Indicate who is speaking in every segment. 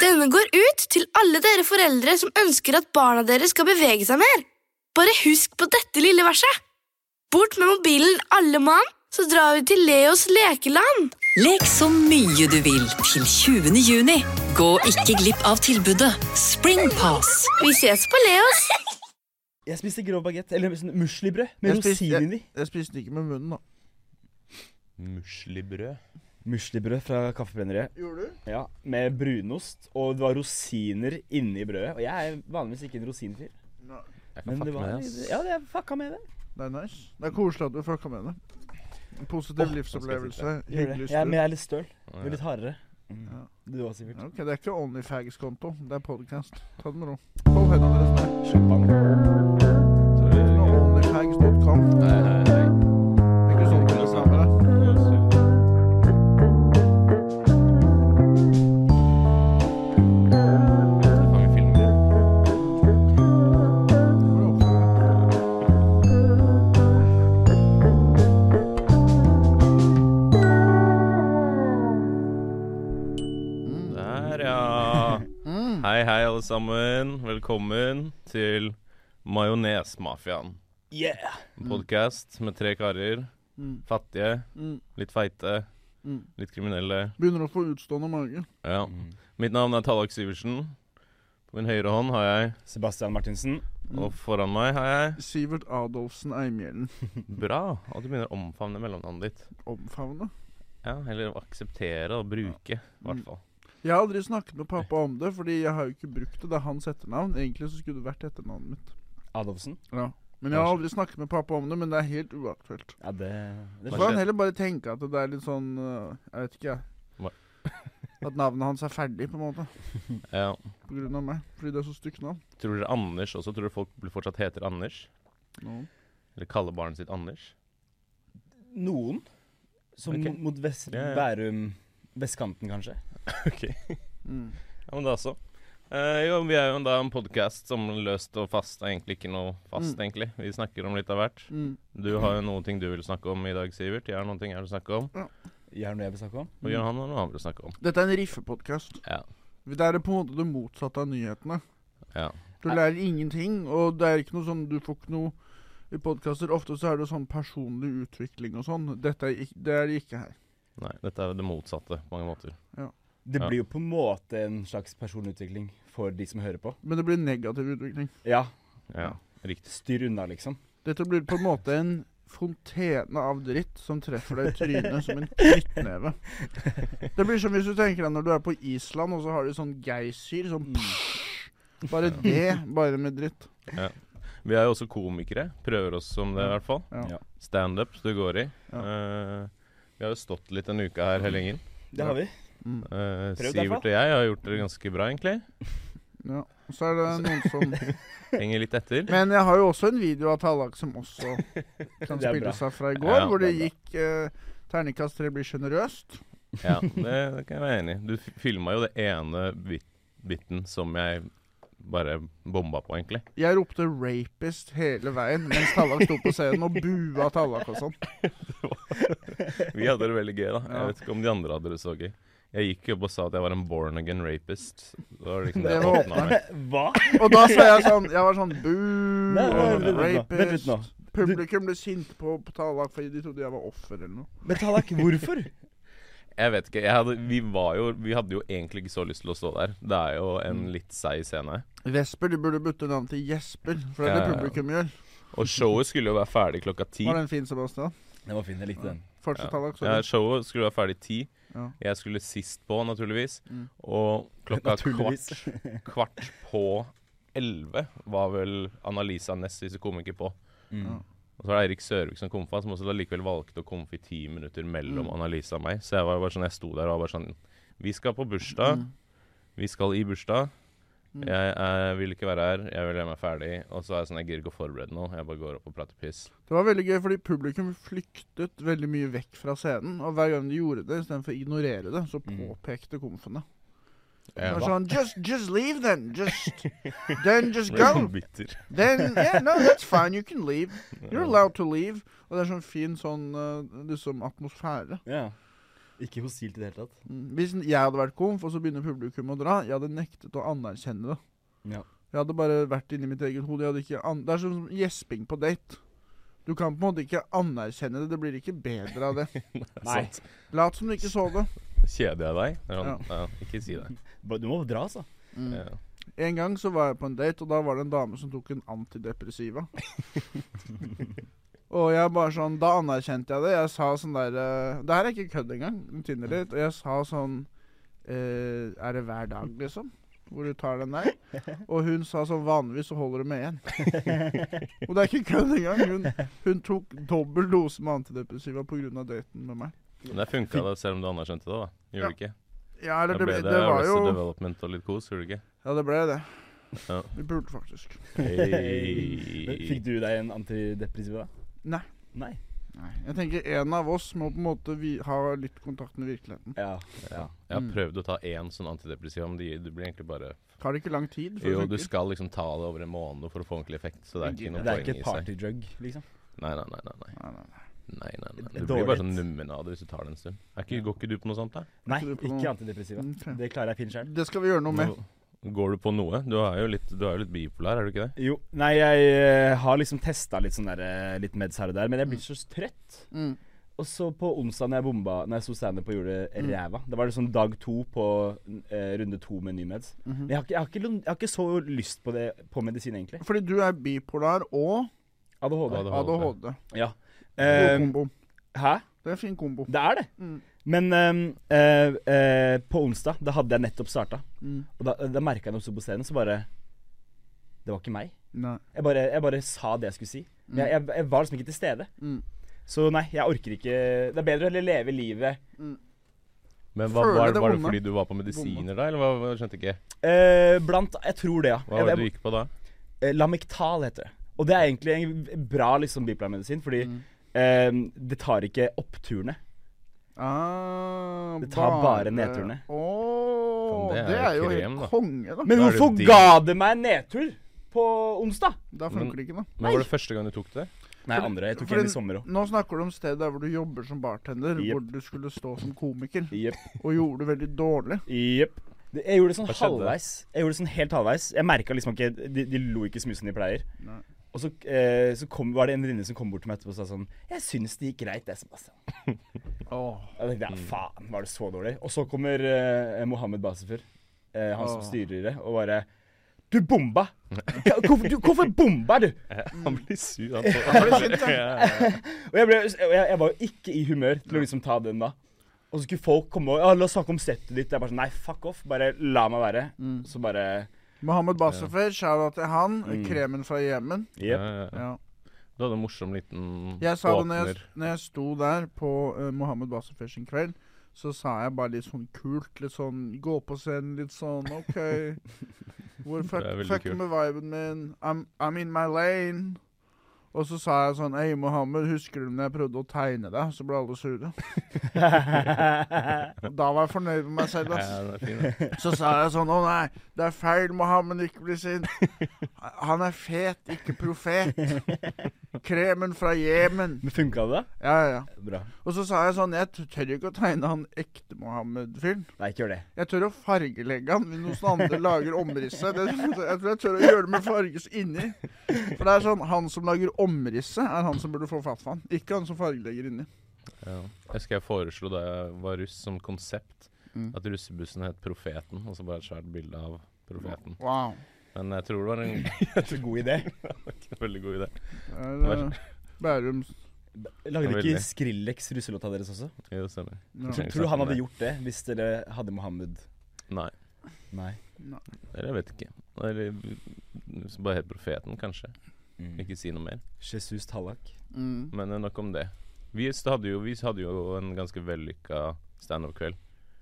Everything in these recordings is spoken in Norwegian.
Speaker 1: Denne går ut til alle dere foreldre som ønsker at barna deres skal bevege seg mer. Bare husk på dette lille verset. Bort med mobilen, alle mann, så drar vi til Leos lekeland.
Speaker 2: Lek så mye du vil til 20. juni. Gå ikke glipp av tilbudet Springpass.
Speaker 1: Vi ses på Leos.
Speaker 3: Jeg spiste grov bagett, eller sånn muslibrød med
Speaker 4: Jeg spiste-
Speaker 3: rosiner i.
Speaker 4: Jeg spiste ikke med munnen, da.
Speaker 5: Muslibrød.
Speaker 3: Muslibrød fra Kaffebrenneriet.
Speaker 4: Gjorde du?
Speaker 3: Ja, Med brunost, og det var rosiner inni brødet. Og jeg er vanligvis ikke en rosinfyr.
Speaker 4: Nei.
Speaker 5: Jeg kan
Speaker 3: Men
Speaker 5: fucke
Speaker 3: det var
Speaker 5: med det, ass.
Speaker 3: Ja, det fucka med det.
Speaker 4: Det er nice. Det er koselig at du fucka med det. En positiv
Speaker 3: Åh,
Speaker 5: nå
Speaker 4: livsopplevelse.
Speaker 3: Gjør det.
Speaker 4: Hyggelig
Speaker 3: Ja,
Speaker 4: stund.
Speaker 3: men jeg er litt støl.
Speaker 5: Å,
Speaker 3: Du er
Speaker 5: ja.
Speaker 3: litt hardere.
Speaker 4: Ja.
Speaker 3: Du òg, sikkert.
Speaker 4: Ok, Det er ikke OnlyFags-konto, det er podkast. Ta det med ro. Hold hendene deres ned. Nå, Onlyfags.com.
Speaker 5: Nei, nei, nei.
Speaker 4: Ikke sånn til reklame, det.
Speaker 5: Jeg fanger filmen.
Speaker 4: Får du oppføre deg.
Speaker 5: Der, ja.
Speaker 3: Mm.
Speaker 5: Hei, hei, alle sammen. Velkommen til Majonesmafiaen.
Speaker 3: Yeah!
Speaker 5: En podkast med tre karer.
Speaker 4: Mm.
Speaker 5: Fattige,
Speaker 4: Mm.
Speaker 5: litt feite,
Speaker 4: Mm.
Speaker 5: litt kriminelle.
Speaker 4: Begynner å få utstående mage.
Speaker 5: Ja. Mitt navn er Tallak Syversen. På min høyre hånd har jeg,
Speaker 3: Sebastian Martinsen.
Speaker 5: og foran meg har jeg
Speaker 4: Sivert Adolfsen Eimhjellen.
Speaker 5: Bra at du begynner å omfavne mellomnavnet ditt.
Speaker 4: Omfavne.
Speaker 5: Ja, Eller å akseptere og bruke, i
Speaker 3: Mm.
Speaker 5: hvert fall.
Speaker 4: Jeg har aldri snakket med pappa om det, fordi jeg har jo ikke brukt det. Det er hans etternavn. Egentlig så skulle det vært etternavnet mitt.
Speaker 3: Adolfsen.
Speaker 4: Ja. Men jeg har aldri snakket med pappa om det, men det er helt uaktuelt.
Speaker 3: Ja, det, det
Speaker 4: Så
Speaker 5: Hva
Speaker 4: får han
Speaker 5: skjer?
Speaker 4: heller bare tenke at det er litt sånn øh, Jeg vet ikke,
Speaker 5: Hva?
Speaker 4: jeg. At navnet hans er ferdig, på en måte.
Speaker 5: Ja.
Speaker 4: På grunn av meg. Fordi det er så stygt navn.
Speaker 5: Tror dere Anders også? Tror dere folk fortsatt heter Anders?
Speaker 4: No.
Speaker 5: Eller kaller barnet sitt Anders?
Speaker 3: Noen. Som
Speaker 5: Ok.
Speaker 3: mot vest,
Speaker 5: Ja, ja.
Speaker 3: Bærum Vestkanten, kanskje.
Speaker 4: Mm.
Speaker 5: Ja, men det også. Eh, jo, vi er jo da en podkast som løst og fast er egentlig ikke noe fast,
Speaker 4: Mm.
Speaker 5: egentlig. Vi snakker om litt av hvert.
Speaker 4: Mm.
Speaker 5: Du har jo noen ting du vil snakke om i dag, Sivert. Jeg har noen ting jeg vil snakke om.
Speaker 3: Gjør noe jeg vil snakke om.
Speaker 4: Mm.
Speaker 5: Og Johan har noe han vil snakke om.
Speaker 4: Dette er en riffepodkast.
Speaker 5: Ja.
Speaker 4: Det er på en måte det motsatte av nyhetene.
Speaker 5: Ja.
Speaker 4: Du lærer ingenting, og det er ikke noe sånn Du får ikke noe i podkaster. Ofte så er det jo sånn personlig utvikling og sånn. Dette er ikke, det er det ikke her.
Speaker 5: Nei, dette er jo det motsatte på mange måter.
Speaker 3: Det
Speaker 5: Ja.
Speaker 3: blir jo på en måte en slags personutvikling for de som hører på.
Speaker 4: Men det blir negativ utvikling.
Speaker 3: Ja.
Speaker 5: Ja. Riktig.
Speaker 3: Styr unna, liksom.
Speaker 4: Dette blir på en måte en fontene av dritt som treffer deg i trynet som en knyttneve. Det blir som hvis du tenker deg når du er på Island, og så har de sånn geysir. Sånn Bare det, bare med dritt.
Speaker 5: Vi er jo også komikere. Prøver oss som det, i hvert fall.
Speaker 4: Ja.
Speaker 3: Ja.
Speaker 5: Standup det går i.
Speaker 4: Ja.
Speaker 5: Eh, vi har jo stått litt denne uka her, Hellingen.
Speaker 3: Det har vi.
Speaker 4: Mm.
Speaker 5: Uh,
Speaker 3: Prøvd, i hvert
Speaker 5: Sivert og
Speaker 3: fall.
Speaker 5: jeg har gjort det ganske bra, egentlig.
Speaker 4: Ja. Og så er det noen som
Speaker 5: Henger litt etter.
Speaker 4: Men jeg har jo også en video av Tallak som også kan
Speaker 3: Det er
Speaker 4: spille
Speaker 3: bra.
Speaker 4: seg fra i går,
Speaker 5: Ja,
Speaker 4: hvor
Speaker 3: det
Speaker 4: det
Speaker 3: er
Speaker 4: gikk eh, Terningkast tre blir sjenerøst.
Speaker 5: Ja, det, det kan jeg være enig i. Du f- filma jo det ene bit, biten som jeg bare bomba på, egentlig.
Speaker 4: Jeg ropte 'rapist' hele veien mens Tallak sto på scenen og bua Tallak og sånn.
Speaker 5: Vi hadde det veldig gøy, da.
Speaker 4: Ja.
Speaker 5: Jeg vet ikke om de andre hadde det så gøy. Jeg gikk jo opp og sa at jeg var en born again rapist. Det var liksom det
Speaker 4: Det
Speaker 5: jeg
Speaker 4: var
Speaker 5: åpna med.
Speaker 3: Hva?
Speaker 4: Og da sa jeg sånn Jeg var sånn
Speaker 3: Nei, nei,
Speaker 4: boo,
Speaker 3: vent litt nå, vent litt
Speaker 4: rapist.
Speaker 3: nå.
Speaker 4: Publikum ble sinte på, på Tallak fordi de trodde jeg var offer eller noe.
Speaker 3: Men Tallak, hvorfor?
Speaker 5: Jeg vet ikke. Jeg hadde, vi, var jo, vi hadde jo egentlig ikke så lyst til å stå der. Det er jo en litt seig scene.
Speaker 4: Vesper, du burde bytte navn til Jesper, for det er
Speaker 5: Ja, ja,
Speaker 4: det
Speaker 5: ja.
Speaker 4: publikum gjør.
Speaker 5: Og showet skulle jo være ferdig klokka ti.
Speaker 4: Var den fin, Sebastian?
Speaker 3: Den var fin. Jeg likte den.
Speaker 4: Fortsett, Tallak.
Speaker 5: Ja,
Speaker 4: Sorry.
Speaker 5: showet skulle være ferdig ti.
Speaker 4: Ja.
Speaker 5: Jeg skulle sist på, naturligvis.
Speaker 4: Mm.
Speaker 5: Og klokka
Speaker 3: Naturligvis.
Speaker 5: kvart, kvart på elleve var vel Annalisa Næss siste komiker på.
Speaker 3: Mm.
Speaker 5: Og så var det Eirik Sørvik som komfa, som også da likevel valgte å komfe i ti minutter mellom Annalisa og meg. Så jeg var jo bare sånn, jeg sto der og var bare sånn Vi skal på bursdag. Vi skal i bursdag. Jeg, eh, vil ikke være her. Jeg vil gjøre meg ferdig. Og så er jeg sånn, jeg gidder ikke å forberede noe. Jeg bare går opp og prater piss.
Speaker 4: Det var veldig gøy, fordi publikum flyktet veldig mye vekk fra scenen. Og hver gang de gjorde det, istedenfor å ignorere det, så
Speaker 5: Mm.
Speaker 4: påpekte komfene. Det var sånn just, just leave then. Just, then just
Speaker 5: Ble sånn
Speaker 4: go.
Speaker 5: bitter.
Speaker 4: Then, yeah, no, that's fine. You can leave. You're allowed to leave. Og det er sånn fin sånn eh, liksom atmosfære.
Speaker 3: Ja. Ikke hostilt i det hele tatt.
Speaker 4: Mm. Hvis n- jeg hadde vært komf, og så begynner publikum å dra, jeg hadde nektet å anerkjenne det.
Speaker 3: Ja.
Speaker 4: Jeg hadde bare vært inni mitt eget hode. Jeg hadde ikke an det er sånn som gjesping på date. Du kan på en måte ikke anerkjenne det. Det blir ikke bedre av det.
Speaker 3: Nei.
Speaker 5: Sant.
Speaker 4: Lat som du ikke så det.
Speaker 5: Kjeder jeg deg? Det er Sånn, ja. ikke si det.
Speaker 3: Ba- Du må dra, altså.
Speaker 5: Ja.
Speaker 4: En gang så var jeg på en date, og da var det en dame som tok en antidepressiva. og jeg bare sånn Da anerkjente jeg det. Jeg sa sånn derre Det her er ikke kødd engang. en Tinder-date. Og jeg sa sånn eh, Er det hver dag, liksom? Hvor du tar den der? Og hun sa sånn Vanligvis så holder du med én. og det er ikke kødd engang. Hun, hun tok dobbel dose med antidepressiva pga. daten med meg.
Speaker 5: Men det funka da, selv om du anerkjente det, da. Gjorde det ikke?
Speaker 4: Ja,
Speaker 5: Da
Speaker 4: eller
Speaker 5: ble
Speaker 4: det,
Speaker 5: det
Speaker 4: det var jo
Speaker 5: Arrested Development og litt kos, gjorde det ikke?
Speaker 4: Ja, det ble det.
Speaker 5: Ja.
Speaker 4: Vi burde faktisk.
Speaker 3: Men Fikk du deg en antidepressiva?
Speaker 4: Nei.
Speaker 3: Nei.
Speaker 4: Nei, jeg tenker en av oss må på en måte vi ha litt kontakt med virkeligheten.
Speaker 3: Ja. ja.
Speaker 5: Jeg har
Speaker 4: Mm.
Speaker 5: prøvd å ta én sånn antidepressiva, men det det blir egentlig bare
Speaker 4: Tar det ikke lang tid? før det
Speaker 5: Jo,
Speaker 4: sånn?
Speaker 5: du
Speaker 4: funker?
Speaker 5: skal liksom ta det over en måned for å få ordentlig effekt, så det er ikke noe
Speaker 3: Det er
Speaker 5: poeng
Speaker 3: ikke
Speaker 5: i
Speaker 3: et
Speaker 5: seg.
Speaker 3: partydrug, liksom.
Speaker 5: Nei, nei, nei. nei, nei.
Speaker 4: Nei, nei, nei.
Speaker 5: nei, nei, nei.
Speaker 3: Det er
Speaker 5: Du blir bare
Speaker 3: dårlig.
Speaker 5: sånn nummen av det hvis du tar det en stund. Er ikke, går ikke du på noe sånt, da?
Speaker 3: Nei,
Speaker 4: du på
Speaker 3: ikke
Speaker 4: noe-
Speaker 3: antidepressiva.
Speaker 4: Mm, fair.
Speaker 3: Det klarer jeg fint sjøl.
Speaker 4: Det skal vi gjøre noe med.
Speaker 5: Går du på noe? Du er jo litt, du er jo litt bipolar, er du ikke det?
Speaker 3: Jo, nei, jeg eh, har liksom testa litt sånn der, eh, litt meds her og der, men jeg blir så trøtt.
Speaker 4: Mm.
Speaker 3: Og så på onsdag når jeg bomba Når jeg sto standup og gjorde
Speaker 4: Mm.
Speaker 3: ræva Da var det sånn dag to på eh, runde to med ny meds.
Speaker 4: Mhm.
Speaker 3: Men jeg har, ikke, jeg, har ikke, lon- jeg har ikke så lyst på det på medisin, egentlig.
Speaker 4: Fordi du er bipolar og
Speaker 3: ADHD.
Speaker 5: ADHD.
Speaker 4: ADHD.
Speaker 3: Ja.
Speaker 4: God
Speaker 3: Eh,
Speaker 4: kombo.
Speaker 3: hæ?
Speaker 4: Det er en fin kombo.
Speaker 3: Det er det.
Speaker 4: Mm.
Speaker 3: Men eh, eh, eh, på onsdag, da hadde jeg nettopp starta,
Speaker 4: Mm.
Speaker 3: og da, da merka jeg når jeg sto på scenen, så bare Det var ikke meg.
Speaker 4: Nei.
Speaker 3: Jeg bare, jeg bare sa det jeg skulle si. Men jeg, jeg, jeg var liksom ikke til stede.
Speaker 4: Mm.
Speaker 3: Så nei, jeg orker ikke Det er bedre å heller leve livet
Speaker 5: Men hva,
Speaker 4: Føler
Speaker 5: var,
Speaker 4: det
Speaker 5: var det
Speaker 4: vonde.
Speaker 5: fordi du var på medisiner da, eller hva? hva- Jeg skjønte ikke.
Speaker 3: eh, blant Jeg tror det, ja.
Speaker 5: Hva var
Speaker 3: Jeg-
Speaker 5: det du
Speaker 3: jeg-
Speaker 5: gikk på da?
Speaker 3: eh, Lamictal heter det. Og det er egentlig en bra liksom, bipolarmedisin, fordi
Speaker 4: Mm.
Speaker 3: eh, det tar ikke oppturene.
Speaker 4: Ah,
Speaker 3: Det tar bare
Speaker 4: bare-
Speaker 3: nedturene.
Speaker 4: Åh,
Speaker 5: Faen, det er
Speaker 4: det er jo
Speaker 5: krem,
Speaker 4: helt
Speaker 5: da.
Speaker 4: konge, da.
Speaker 3: Men
Speaker 5: Da er det
Speaker 3: hvorfor
Speaker 5: digg.
Speaker 3: ga det meg en nedtur på onsdag?
Speaker 4: Da funker det ikke, da.
Speaker 5: Men var det første gang du tok det?
Speaker 3: Nei, andre. Jeg tok
Speaker 4: Fordi
Speaker 3: en i sommer òg.
Speaker 4: Nå snakker du om stedet der hvor du jobber som bartender,
Speaker 3: Jep.
Speaker 4: hvor du skulle stå som komiker,
Speaker 3: Jepp.
Speaker 4: og gjorde det veldig dårlig.
Speaker 3: Jepp. Det- Jeg gjorde det sånn
Speaker 5: Hva skjedde?
Speaker 3: halvveis. Jeg gjorde det sånn helt halvveis. Jeg merka liksom ikke de, de lo ikke så mye som de pleier.
Speaker 4: Nei.
Speaker 3: Og så, eh, så kom, var det en venninne som kom bort til meg etterpå og sa sånn Jeg syns det gikk greit, det, Sebastian.
Speaker 4: Åh.
Speaker 3: Jeg tenkte,
Speaker 5: Mm.
Speaker 3: ja, faen, var det så dårlig? Og så kommer eh, Mohammed Basifur, eh, han som
Speaker 4: Åh.
Speaker 3: styrer det, og bare Du bomba! Ja, Hvorfor, du, hvorfor bomba du?
Speaker 4: Mm.
Speaker 5: Han blir sur, han.
Speaker 3: Og jeg, ble, og jeg, jeg var jo ikke i humør til å liksom ta den da. Og så skulle folk komme og ja, la oss snakke om settet ditt. Jeg bare sånn Nei, fuck off. Bare la meg være.
Speaker 4: Mm.
Speaker 3: Så bare
Speaker 4: Mohammed Bassefer, shout-out til han.
Speaker 3: Mm.
Speaker 4: Kremen fra Jemen.
Speaker 3: Jepp.
Speaker 5: Ja, ja, ja.
Speaker 4: Ja.
Speaker 5: Du hadde en morsom liten
Speaker 4: Jeg sa det når jeg,
Speaker 5: åpner.
Speaker 4: når jeg sto der på uh, Mohammed Bassefer sin kveld. Så sa jeg bare litt sånn kult, litt sånn gå på scenen, litt sånn OK. Hvor fuck,
Speaker 5: Det er veldig
Speaker 4: fucker
Speaker 5: kult.
Speaker 4: med viben min. I'm, I'm in my lane. Og så sa jeg sånn Hei, Mohammed, husker du når jeg prøvde å tegne deg? Så ble alle sure. Og Da var jeg fornøyd med meg selv.
Speaker 5: Ja,
Speaker 4: ass.
Speaker 5: den er fin, den.
Speaker 4: Så sa jeg sånn Å nei, det er feil, Mohammed ikke bli sint. Han er fet, ikke profet. Kremen fra Jemen.
Speaker 3: Men funka det, da?
Speaker 4: Ja, ja, ja.
Speaker 3: Bra.
Speaker 4: Og så sa jeg sånn Jeg t- tør ikke å tegne han ekte Mohammed-fyren.
Speaker 3: Nei, ikke gjør det.
Speaker 4: Jeg tør å fargelegge han hvis noen andre lager omrisset. Det, jeg tror jeg tør å gjøre det med farges inni. For det er sånn Han som lager omrisset, er han som burde få fatt for han. Ikke han som fargelegger inni.
Speaker 5: Ja. Jeg husker jeg foreslo da jeg var russ, som konsept
Speaker 4: Mm.
Speaker 5: at russebussen het Profeten, og så bare et svært bilde av Profeten.
Speaker 4: Wow.
Speaker 5: Men jeg tror det var en
Speaker 3: Så god idé.
Speaker 5: veldig god idé.
Speaker 4: Det er, eh, Bærums
Speaker 3: Lagde
Speaker 5: Ja,
Speaker 3: ikke
Speaker 5: veldig.
Speaker 3: Skrillex russelåta deres også?
Speaker 5: Jo, det stemmer.
Speaker 4: ja.
Speaker 5: Trenger ikke
Speaker 3: Tror du
Speaker 5: snakke
Speaker 3: han
Speaker 5: om
Speaker 3: hadde
Speaker 5: det.
Speaker 3: gjort det hvis dere hadde Mohammed?
Speaker 5: Nei.
Speaker 3: Nei.
Speaker 5: Eller jeg vet ikke. Eller hvis det bare het Profeten, kanskje. Ikke si noe mer.
Speaker 3: Mm. Jesus Tallak.
Speaker 4: mm.
Speaker 5: Men eh, nok om det. Vi s- hadde jo, vi hadde jo en ganske vellykka standup-kveld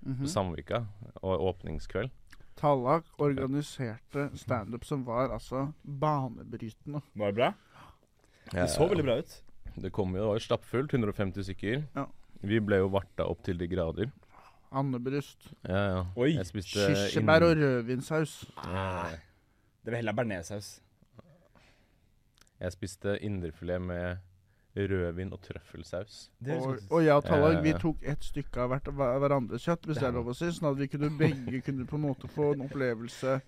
Speaker 4: Mm.
Speaker 5: på Samvika, og åpningskveld.
Speaker 4: mhm. Tallak organiserte standup som var altså banebrytende.
Speaker 3: Var det bra? Det så veldig bra ut.
Speaker 5: Det kom jo, det var jo stappfullt, 150 stykker.
Speaker 4: Ja.
Speaker 5: Vi ble jo varta opp til de grader.
Speaker 4: Andebryst,
Speaker 5: Ja, ja.
Speaker 3: Oi,
Speaker 5: Jeg spiste
Speaker 4: kirsebær og rødvinsaus.
Speaker 3: Det var heller bearnéssaus.
Speaker 5: Jeg spiste indrefilet med rødvin og trøffelsaus.
Speaker 3: Det
Speaker 4: Og,
Speaker 3: høres godt ut.
Speaker 4: og jeg og Tallag vi
Speaker 5: Eh.
Speaker 4: tok ett stykke av hvert, hver- hverandres kjøtt, hvis det er lov å si. Sånn at vi kunne begge kunne på en måte få en opplevelse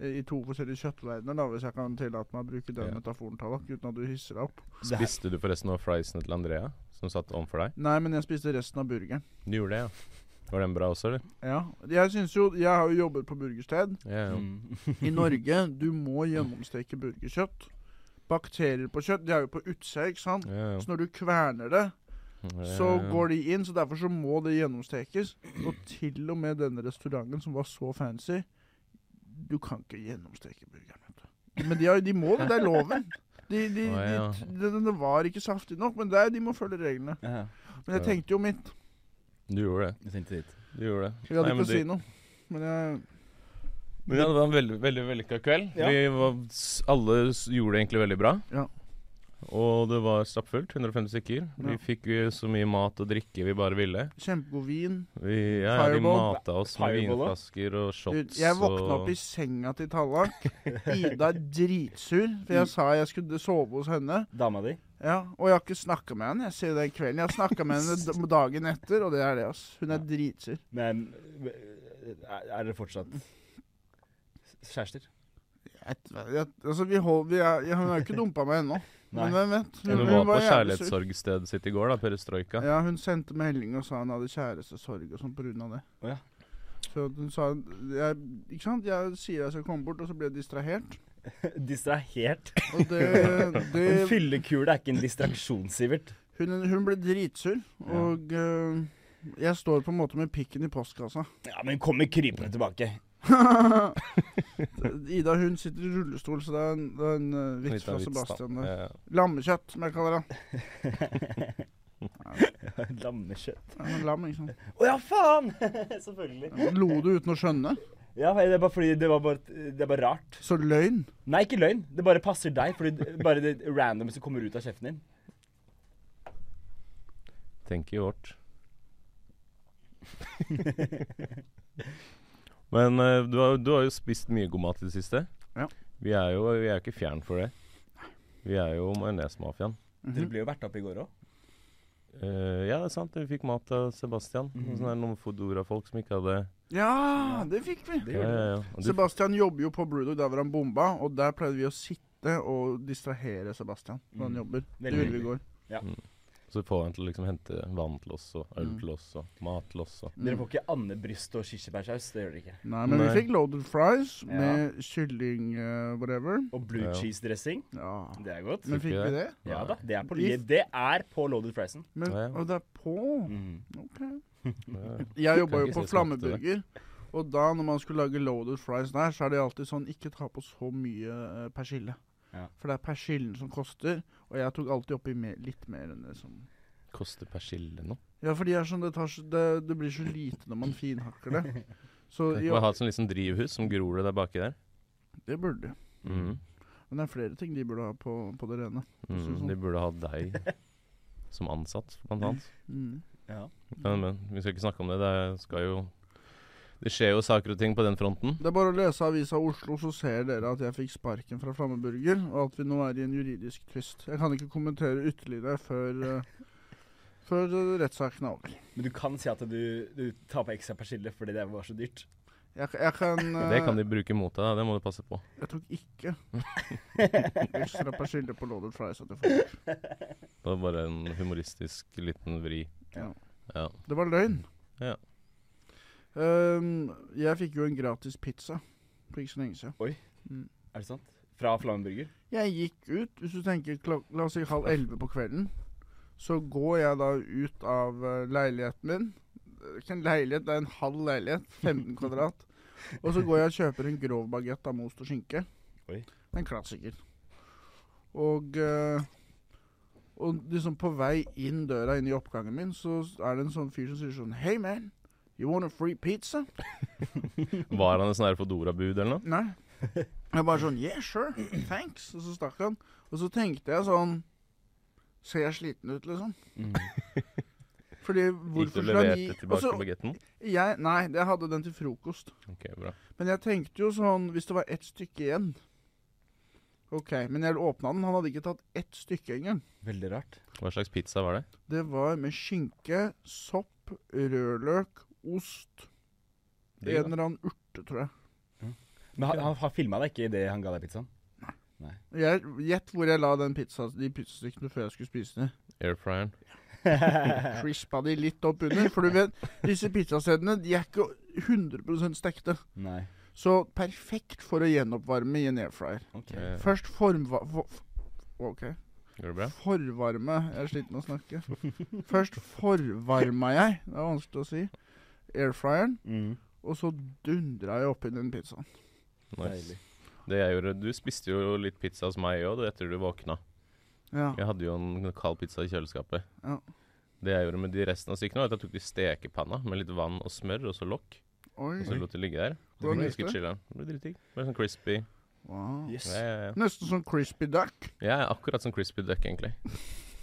Speaker 4: eh, i to forskjellige kjøttverdener, da, hvis jeg kan tillate meg å bruke den
Speaker 5: Ja.
Speaker 4: metaforen, Tallak, uten at du hisser deg opp.
Speaker 3: Det her-
Speaker 5: Spiste du forresten av friesene til Andrea, som satt overfor deg?
Speaker 4: Nei, men jeg spiste resten av burgeren.
Speaker 5: Du gjorde det, ja. Var den bra også, eller?
Speaker 4: Ja. Jeg synes jo Jeg har jo jobbet på burgersted.
Speaker 5: Ja, ja.
Speaker 3: Mm.
Speaker 4: I Norge, du må gjennomsteke burgerkjøtt. Bakterier på kjøtt, de er jo på utsida, ikke sant?
Speaker 5: ja, ja.
Speaker 4: Så når du kverner det, så
Speaker 5: Ja, ja.
Speaker 4: går de inn, så derfor så må det gjennomstekes. Og til og med denne restauranten som var så fancy Du kan ikke gjennomsteke burgeren, vet du. Men de, har, de må det, det er loven. De, de,
Speaker 5: Å, ja.
Speaker 4: de, den- den var ikke saftig nok, men det er, de må følge reglene.
Speaker 3: Ja,
Speaker 4: Men jeg tenkte jo mitt.
Speaker 5: Du gjorde
Speaker 3: jeg
Speaker 5: det.
Speaker 3: tenkte dit.
Speaker 5: Du gjorde det.
Speaker 4: Jeg hadde
Speaker 5: Nei,
Speaker 4: ikke
Speaker 5: men
Speaker 4: å si
Speaker 5: du-
Speaker 4: noe. Men jeg
Speaker 5: Men ja, det var en veldig, veldig vellykka kveld.
Speaker 3: Ja.
Speaker 5: Vi var, s- alle s- gjorde det egentlig veldig bra.
Speaker 4: Ja.
Speaker 5: Og det var stappfullt. 150 stykker. Vi
Speaker 4: Ja.
Speaker 5: fikk eh, så mye mat og drikke vi bare ville.
Speaker 4: Kjempegod vin.
Speaker 5: Vi, ja, ja, de
Speaker 4: Fireball.
Speaker 5: mata oss med
Speaker 3: Fireball, da?
Speaker 5: vinflasker og
Speaker 4: Dude,
Speaker 5: shots.
Speaker 4: jeg våkna
Speaker 5: og-
Speaker 4: opp i senga til Tallak. Ida er dritsur, for jeg sa jeg skulle sove hos henne.
Speaker 3: Dama di.
Speaker 4: Ja, Og jeg har ikke snakka med henne. Jeg ser det i kvelden. Jeg har snakka med henne d- dagen etter, og det er det, ass. Hun er dritsur.
Speaker 3: Men øh, er er dere fortsatt s- kjærester?
Speaker 4: Jeg, jeg, altså, vi hold, vi er, jeg, hun har jo ikke dumpa meg ennå.
Speaker 3: Nei.
Speaker 4: Men hvem vet?
Speaker 5: Hun var på
Speaker 4: jævlig sur.
Speaker 5: kjærlighetssorgstedet sitt i går, da, perestrojka.
Speaker 4: Ja, hun sendte melding og sa hun hadde kjærestesorg og sånn på grunn av det.
Speaker 3: Å ja.
Speaker 4: Så hun sa jeg, Ikke sant? Jeg sier jeg skal komme bort, og så blir jeg distrahert. eh,
Speaker 3: Distrahert.
Speaker 4: Og det,
Speaker 3: En
Speaker 4: det
Speaker 3: fyllekule er ikke en distraksjon, Sivert.
Speaker 4: Hun, hun ble dritsur, og øh, jeg står på en måte med pikken i postkassa.
Speaker 3: Ja, men kommer krypende tilbake.
Speaker 4: Ida hun sitter i rullestol, så det er en, det er en øh, vits
Speaker 5: Litt
Speaker 4: fra
Speaker 5: av vits, da.
Speaker 4: Sebastian. der.
Speaker 5: Ja, ja.
Speaker 4: Lammekjøtt, som jeg kaller det.
Speaker 3: Lammekjøtt.
Speaker 4: Ja, Lam, ikke sant.
Speaker 3: Å ja, faen! Selvfølgelig.
Speaker 4: Ja, Lo du uten å skjønne?
Speaker 3: Ja, det er bare fordi det var bare, det er bare rart.
Speaker 4: Så løgn.
Speaker 3: Nei, ikke løgn. Det bare passer deg. Fordi det, bare det random som kommer ut av kjeften din.
Speaker 5: Tenk i vårt. Men eh, du har, du har jo spist mye god mat i det siste.
Speaker 4: Ja.
Speaker 5: Vi er jo vi er jo ikke fjern for det. Vi er jo majonesmafiaen.
Speaker 3: Dere ble jo verta opp i går òg.
Speaker 5: Eh, ja, det er sant. Vi fikk mat av Sebastian.
Speaker 4: Mhm.
Speaker 5: Og så er det noen Fodora-folk som ikke hadde
Speaker 4: Ja, det fikk vi.
Speaker 5: ja, ja, ja. Og du-
Speaker 4: Sebastian jobber jo på Brewdog, der hvor han bomba, og der pleide vi å sitte og distrahere Sebastian når
Speaker 5: Mm.
Speaker 4: han jobber. Det
Speaker 3: Veldig
Speaker 4: gjorde vi i går.
Speaker 5: Så får han til å liksom hente vann til oss, og øl
Speaker 4: Mhm.
Speaker 5: til oss, og mat til oss. Og.
Speaker 3: Dere får ikke andebryst og kirsebærsaus. Det gjør dere ikke.
Speaker 4: Nei, men vi
Speaker 5: Nei.
Speaker 4: fikk loaded fries
Speaker 3: Ja.
Speaker 4: med kylling øh, whatever.
Speaker 3: Og blue
Speaker 5: Ja.
Speaker 3: cheese dressing.
Speaker 4: Ja.
Speaker 3: Det er godt.
Speaker 4: Men fikk vi det?
Speaker 3: Ja da. Det er på,
Speaker 4: If-
Speaker 3: det er på loaded Mhm. friesen.
Speaker 4: Men,
Speaker 5: Ja, ja.
Speaker 4: Og det er på? Ok.
Speaker 5: Ja, ja.
Speaker 4: Jeg jobba
Speaker 5: Kan
Speaker 4: jo
Speaker 5: ikke
Speaker 4: på
Speaker 5: si smakte det.
Speaker 4: Flammeburger. Og da, når man skulle lage loaded fries der, så er det alltid sånn Ikke ta på så mye eh, persille.
Speaker 3: Ja.
Speaker 4: For det er persillen som koster, og jeg tok alltid oppi mer, litt mer enn det som
Speaker 5: Koster persille nå?
Speaker 4: Ja, for de er sånn, det, tar, så- det, det blir så lite når man finhakker det. Så
Speaker 5: Kan
Speaker 4: i,
Speaker 5: ikke bare ha et sånt liksom drivhus som gror det der baki der.
Speaker 4: det burde de.
Speaker 5: Mhm.
Speaker 4: Men det er flere ting de burde ha på, på det rene. sånn.
Speaker 5: Mm, de burde ha deg som ansatt, blant annet.
Speaker 4: Mm.
Speaker 3: Ja.
Speaker 5: Men, men vi skal ikke snakke om det. Det skal jo Det skjer jo saker og ting på den fronten.
Speaker 4: Det er bare å lese Avisa Oslo, så ser dere at jeg fikk sparken fra Flammeburger, og at vi nå er i en juridisk tvist. Jeg kan ikke kommentere ytterligere før, eh, før eh, rettssaken er over.
Speaker 3: Men du kan si at du, du tar på ekstra persille fordi det var så dyrt.
Speaker 4: Jeg, jeg kan
Speaker 5: Det kan
Speaker 4: eh,
Speaker 5: de bruke mot deg, da. Det må du passe på.
Speaker 4: Jeg tok ikke ekstra persille på loaded fries. at jeg får.
Speaker 5: Det var bare en humoristisk liten vri.
Speaker 4: Ja.
Speaker 5: Ja.
Speaker 4: Det var løgn.
Speaker 5: Ja.
Speaker 4: Ehm, jeg fikk jo en gratis pizza for ikke så lenge siden.
Speaker 3: Er det sant? Fra Flammenburger.
Speaker 4: Jeg gikk ut, hvis du tenker klok la oss si halv elleve på kvelden, så går jeg da ut av eh, leiligheten min. Det er Ikke en leilighet, det er en halv leilighet. 15 kvadrat. Og så går jeg og kjøper en grov bagett av most og skinke.
Speaker 3: Oi.
Speaker 4: En klassiker. Og, eh, og liksom på vei inn døra, inn i oppgangen min, så er det en sånn fyr som sier sånn Hey man, you want a free pizza?
Speaker 5: Var han en sånn her Fodora-bud eller noe?
Speaker 4: Nei. Jeg bare sånn Yeah, sure. Thanks. Og så stakk han. Og så tenkte jeg sånn Ser jeg sliten ut, liksom? Fordi
Speaker 5: Mm. Gikk du
Speaker 4: hvorfor
Speaker 5: og
Speaker 4: skulle han
Speaker 5: leverte
Speaker 4: gi
Speaker 5: tilbake
Speaker 4: Altså,
Speaker 5: bagetten?
Speaker 4: jeg, Nei, jeg hadde den til frokost.
Speaker 5: Ok, bra.
Speaker 4: Men jeg tenkte jo sånn Hvis det var ett stykke igjen Ok, Men jeg åpna den. Han hadde ikke tatt ett stykke engang.
Speaker 3: Veldig rart.
Speaker 5: Hva slags pizza var det?
Speaker 4: Det var med skinke, sopp, rødløk, ost En
Speaker 5: Digg, da.
Speaker 4: eller annen urte, tror jeg.
Speaker 3: Men han, han, han filma deg ikke idet han ga deg pizzaen?
Speaker 4: Jeg- Gjett hvor jeg la den pizza, de pizzastykkene før jeg skulle spise dem.
Speaker 5: Airfryeren.
Speaker 4: Crispa de litt opp under. For du vet, disse pizzastedene de er ikke 100 stekte.
Speaker 3: Nei.
Speaker 4: Så perfekt for å gjenoppvarme i en airfryer.
Speaker 3: Ok.
Speaker 5: Eh,
Speaker 4: Først formva... For, ok.
Speaker 5: Går det bra?
Speaker 4: Forvarme Jeg er sliten med å snakke. Først forvarma jeg, det er vanskelig å si, airfryeren.
Speaker 3: Mm.
Speaker 4: Og så dundra jeg oppi den pizzaen.
Speaker 5: Nice.
Speaker 3: Deilig.
Speaker 5: Det jeg gjorde, Du spiste jo litt pizza hos meg òg etter du våkna.
Speaker 4: Ja.
Speaker 5: Jeg hadde jo en kald pizza i kjøleskapet.
Speaker 4: Ja.
Speaker 5: Det jeg gjorde med de resten av stykkene, var at jeg tok de i stekepanna med litt vann og smør, og så lokk.
Speaker 4: Oi.
Speaker 5: Og så lot det ligge der.
Speaker 4: Hvordan
Speaker 5: Jeg
Speaker 4: gikk
Speaker 5: husker
Speaker 4: det?
Speaker 5: chillen. Det ble dritdigg. Det ble Sånn crispy.
Speaker 4: Wow.
Speaker 3: Yes.
Speaker 5: Ja, ja, ja.
Speaker 4: Nesten som crispy duck.
Speaker 5: Jeg er akkurat som crispy duck, egentlig.